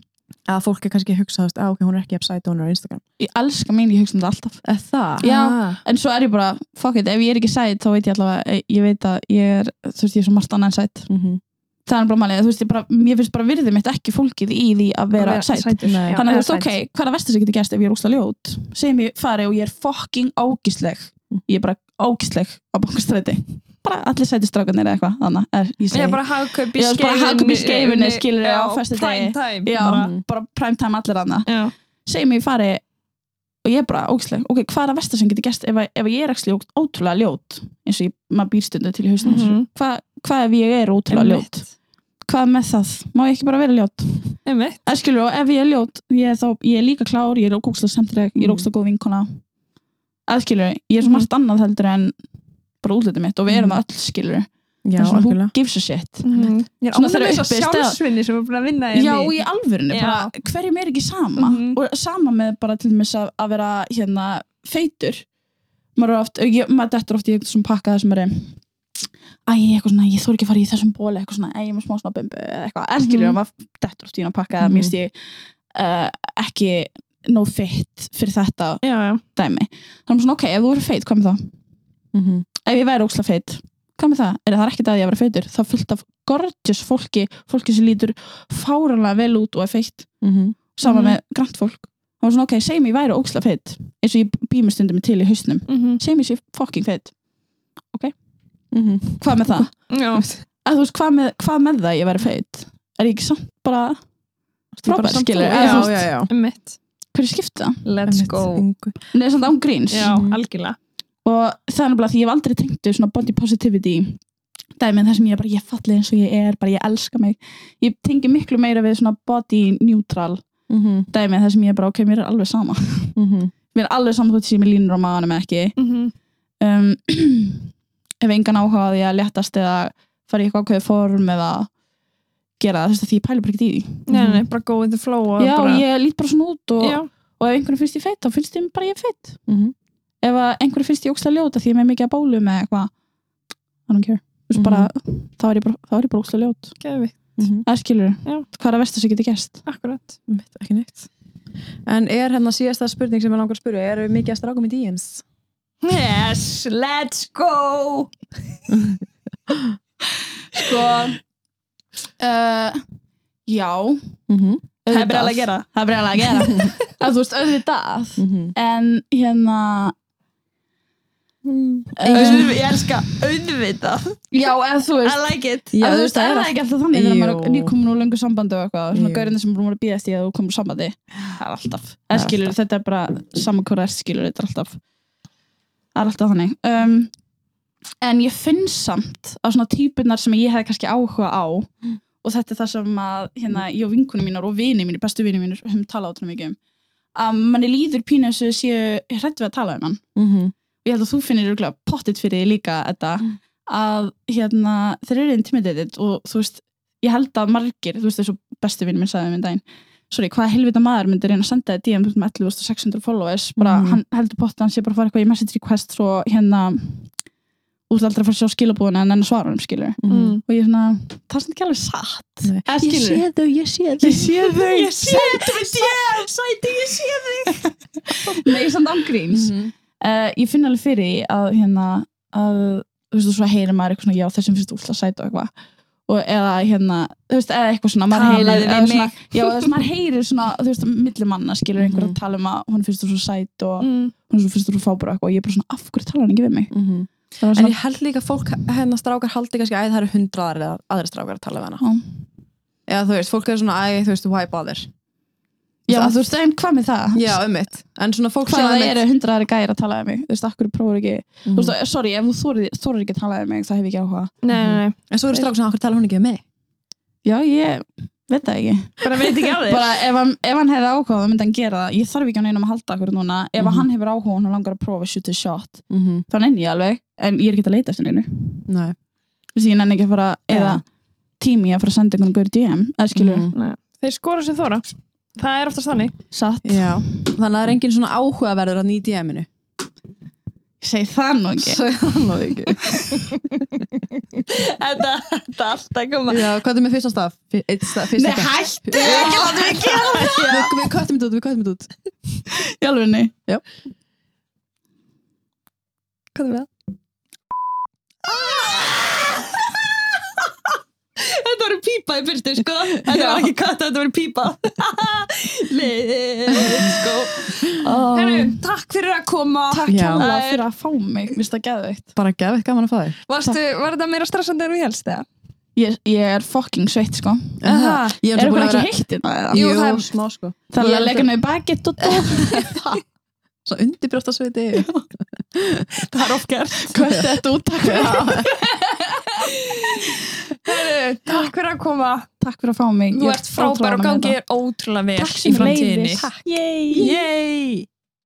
S3: að fólk er kannski að hugsa, þú veist, að ok, hún er ekki upside down á Instagram.
S2: ég elska mín, ég hugsa um þetta alltaf
S3: Er það?
S2: Já.
S3: Ah.
S2: en svo er ég bara, fuck it, ef ég er ekki sætt þá veit ég allavega, eh, ég veit að ég er þú veist, ég er svo margt annað en sætt
S3: Mhm.
S2: það er bara málið, þú veist, ég, bara, ég finnst bara virðið mitt ekki fólkið í því að vera, vera sætt
S3: Nei.
S2: þannig að þú veist, ok, hvað er að versta sem getur gerst ef ég er ógstlega ljót, segjum ég fari og ég er fucking ógísleg
S1: Mm.
S2: ég er bara ógísleg á bankastræti bara allir sæti strákanir eða eitthvað þannig að ég
S1: Ég
S2: segi,
S1: er bara hagkaup í
S2: Já,
S1: skeifinni.
S2: bara hagkaup í skeifunni, skilur við, á föstudegi.
S1: Prime time.
S2: já, bara,
S1: bara.
S3: Mhm.
S2: bara prime time allir annað
S1: Já.
S2: segjum ég fari og ég er bara ógísleg, ok, hvað er að versta sem getur gerst ef, að- ef ég er ekki ótrúlega ljót eins og ég, maður býr stundu til í hausnum mm
S1: Mhm.
S2: hvað hva ef ég er ótrúlega ljót hvað með það, má ég ekki bara vera ljót
S1: Einmitt.
S2: Það skilur og ef ég er ljót, ég er, þá, ég er líka klár, ég er ógókslega samtileg, ég er
S3: Mhm.
S2: ógókslega góð vinkona. Það skilur, ég er svo
S1: Mhm.
S2: margt annað heldur en bara útlitið mitt og við erum
S3: Mhm.
S2: öll skilur.
S3: Já,
S2: Já, svona,
S3: algjörlega.
S2: who gives a shit?
S1: Ég er
S2: Mhm. Svona
S1: ánægð
S2: þegar
S1: með þess
S2: uppi er staðan.
S1: sjálfsvinni sem er búin að vinna í
S2: Já,
S1: henni.
S2: í alvörinu,
S1: Já.
S2: bara hverjum er ekki sama?
S1: Mhm.
S2: Og sama með bara til dæmis að, að vera hérna feitur. Maður er oft, ég, maður dettur oft í eitthvað svona pakkaða sem er æ, eitthvað svona, ég þór ekki að fara í þessum bóli, eitthvað svona, æ, ég er með smá svona bumbu eða eitthvað, elskilur, mm
S1: Mhm.
S2: maður dettur oft í hérna pakkaða, mm
S3: Mhm.
S2: mér finnst ég uh, ekki nóg feitt fyrir þetta
S1: já, já.
S2: dæmi þannig að svona ok, ef þú verður feit, hvað með það?
S3: Mhm.
S2: Ef ég væri ókslega feit, hvað með það? Er það ekkert að ég að vera feitur? Það er fullt af gorgeous fólki, fólki sem lítur fáranlega vel út og er feitt
S3: Mhm.
S2: saman
S1: Mhm.
S2: með grænt fólk það var svona ok, segjum ég væri ókslega feitt eins og ég býmur stundum til í hausnum
S1: Mhm.
S2: segjum ég sé fucking feitt,
S3: Mhm.
S2: hvað með það?
S1: Já.
S2: að þú veist, hvað með, hvað með það ég væri feitt? Er ég ekki samt bara
S3: Ég bara
S2: frábær,
S3: samt-
S2: skilur, eða
S3: Já,
S2: þú veist-
S3: já, já.
S1: Einmitt.
S2: hverju skipta?
S1: Let's
S3: Einmitt,
S1: go.
S3: engu.
S2: Nei, samt án gríns
S1: Já,
S3: Mhm.
S1: algjörlega.
S2: og það er náttúrulega því ég hef aldrei tengt við svona body positivity dæmið þar sem ég er bara ég falli eins og ég er, bara ég elska mig ég tengi miklu meira við svona body neutral
S3: Mhm.
S2: dæmið þar sem ég er bara ok, mér er alveg sama
S3: Mhm.
S2: mér er alveg sama þótt sem ég línur á maðanum eða ekki
S1: Mhm.
S2: um, ef engan áhuga á því að léttast eða fara í eitthvað ákveði form eða gera það, þú veist að því ég pæli bara ekki í því
S1: Mhm. Nei, nei, nei, bara go with the flow. og
S2: já,
S1: bara,
S2: ég lít bara svona út og,
S1: Já.
S2: og ef einhvern finnst ég feitt, þá finnst ég bara ég feitt
S3: Mhm.
S2: ef einhverju finnst ég ókslega ljót af því ég er með mikið að bólu með eitthvað I don't care, þú veist bara þá er ég bara, þá er ég bara ókslega ljót
S1: Geðvikt.
S3: Mhm.
S2: það skilur,
S1: Já.
S2: hvað er að versta sem getur gerst
S1: Akkurat.
S3: Mitt, ekki neitt. En er hérna síðasta spurning sem ég langar að spyrja, eru mikið að strákum í DMs?
S1: Yes, let's go!
S2: sko uh, já
S3: Mhm.
S1: Það er brjálæg að gera.
S2: það er breyðlega að gera að þú veist auðvitað
S3: Mhm.
S2: en hérna
S3: Eh,
S1: Auðv- Ég elska auðvitað.
S2: já eða þú
S1: I
S2: veist
S1: like it.
S3: Já, þú
S2: að þú
S3: veist,
S2: veist,
S3: það
S2: er
S3: er
S2: það ekki alltaf þannig þegar
S3: Jú.
S2: maður er nýkomin úr löngu sambandi og eitthvað, svona
S3: Jú.
S2: gaurinn sem búin að býðast í að þú komur sambandi það er alltaf,
S3: er
S2: er skilur, þetta er bara saman hvað það er skilur, þetta er alltaf það er alltaf þannig um, en ég finn samt á svona típunar sem ég hefði kannski áhuga á og þetta er það sem að hérna, ég og vinkunum mínar og vini mínir, bestu vini mínir höfum talað átrum mikið um að manni líður pínu eins og þau séu hrætt við að tala um hann
S3: mm -hmm.
S2: og ég held að þú finnir örugglega pottit fyrir því líka þetta
S3: Mm.
S2: að hérna, þeir eru intimidated og þú veist, ég held að margir þú veist þessu bestu vinn minn sagði minn daginn sorry, hvaða helvita maður myndi reyna að senda þér DM þú veist, með 11.600 followers bara,
S3: Mhm.
S2: hann heldur pottit, hann sé bara að fara eitthvað í message request svo hérna út aldrei að fara að sjá skilabúðuna en enn að svara um skilur
S1: Mm.
S2: og ég er svona, það er svona ekki alveg satt
S3: mhm. Nei.
S2: Eða
S3: Ég
S2: skilurðu?
S3: sé þau, ég sé þau
S2: Ég sé þau, ég sé þau, sæti, ég sé þau. Nei, samt ángríns. Mm.
S3: Mhm.
S2: ég finn alveg fyrir því að, hérna, að, þú veist, þú svo heyrir maður eitthvað svona, já, þessum finnst þú útla sæti og eitthvað. Og eða, hérna, þú veist, eða eitthvað svona, maður
S1: Talaðu
S2: heyrir,
S1: við
S2: eða
S1: mig.
S2: svona, já, þú veist, maður heyrir svona, þú veist, milli manna skilur einhver
S3: Mhm.
S2: að tala um að hún finnst þú svo sæti og mm.
S1: Mm.
S2: hún finnst þú svo fábúr og eitthvað. Og ég er bara svona, af hverju tala hann ekki við mig?
S3: Mhm.
S2: Það var
S3: En
S2: svona,
S3: ég held líka að fólk, hérna strákar haldi kannski að það eru hundraðar eða aðri strákar að tala við hana.
S2: já.
S3: Já, þú veist, fólk er svona, æ, þú veist, why bother?
S2: já, þú veist, en hvað með það?
S3: Já, ummitt. En svona fólk
S2: Hvað það eru
S3: einmitt-
S2: hundraðari gæri að tala um mig? Þú veist, akkur prófur ekki
S3: Mhm.
S2: Þú veist, og- sorry, ef þú þorir- þorir ekki að tala um mig, það hef ég ekki áhuga.
S1: Nei, nei, nei,
S3: En svo eru strákar svona, okkur tala hún ekki við mig?
S2: Já, ég veit það ekki.
S1: bara veit ekki á þér
S2: Bara ef hann, ef hann hefði áhuga, þá myndi hann gera það. Ég þarf ekki á neinum að halda akkur núna. Ef
S3: Mhm.
S2: hann hefur áhuga og hann langar að prófa að shoot a shot,
S3: Mm -hmm.
S2: þá nenni ég alveg, en ég er ekki að leita eftir neinu.
S3: Nei.
S2: Þú veist, ég nenni ekki að fara, eða tími að fara að senda einhvern gaur DM, eða skilur,
S3: Mhm.
S1: Nei. Þeir skora sem þóra Það er oftast þannig
S2: satt.
S3: Já. Þannig að það er engin svona áhugaverður að nýja DM-inu.
S2: Ég segi það nú ekki.
S3: Svo er ekki.
S1: Þetta er alltaf að koma
S3: Já, hvað er með fyrsta staf? Fyr- einn staf- Fyrsta
S2: Nei,
S3: staf.
S2: hættu ekki, látum við gera
S3: Við, við köttum þetta út, við köttum þetta út.
S2: það. Í alveg, nei.
S3: Hvað er með það?
S1: Þetta voru pípa í byrstu, sko Þetta var ekki katt, þetta voru pípa Let's go Herru, takk fyrir að koma
S2: Takk
S3: Já.
S2: hjála
S1: Það er-
S2: fyrir að fá mig, mér það geðveikt.
S3: Bara gefið gaman að fá þér.
S1: Varstu, Var þetta meira stressandi en við helst það?
S2: Ég, ég er fucking sveitt, sko.
S1: Aha.
S3: Ég
S2: Er
S3: svo búin
S2: eitthvað
S3: að vera...
S2: ekki heitt í það?
S1: Jú, það er-
S3: smá sko.
S2: Það
S1: Ég
S2: er að
S1: er
S2: leggja mig í bakett og dó.
S3: Svo undirbrjósta sviti.
S1: Það er ofkjart
S2: Kvöld þetta út, takk fyrir.
S1: Herru, takk fyrir að koma
S2: Takk fyrir að fá mig.
S1: Þú
S2: Ég er
S1: ert frábær og
S2: ótrúlega ánægð með
S1: gangið er ótrúlega
S2: þetta.
S1: vel
S2: Takk sem
S1: í framtíðinni
S2: leiðis. Takk. Yay.
S1: Yay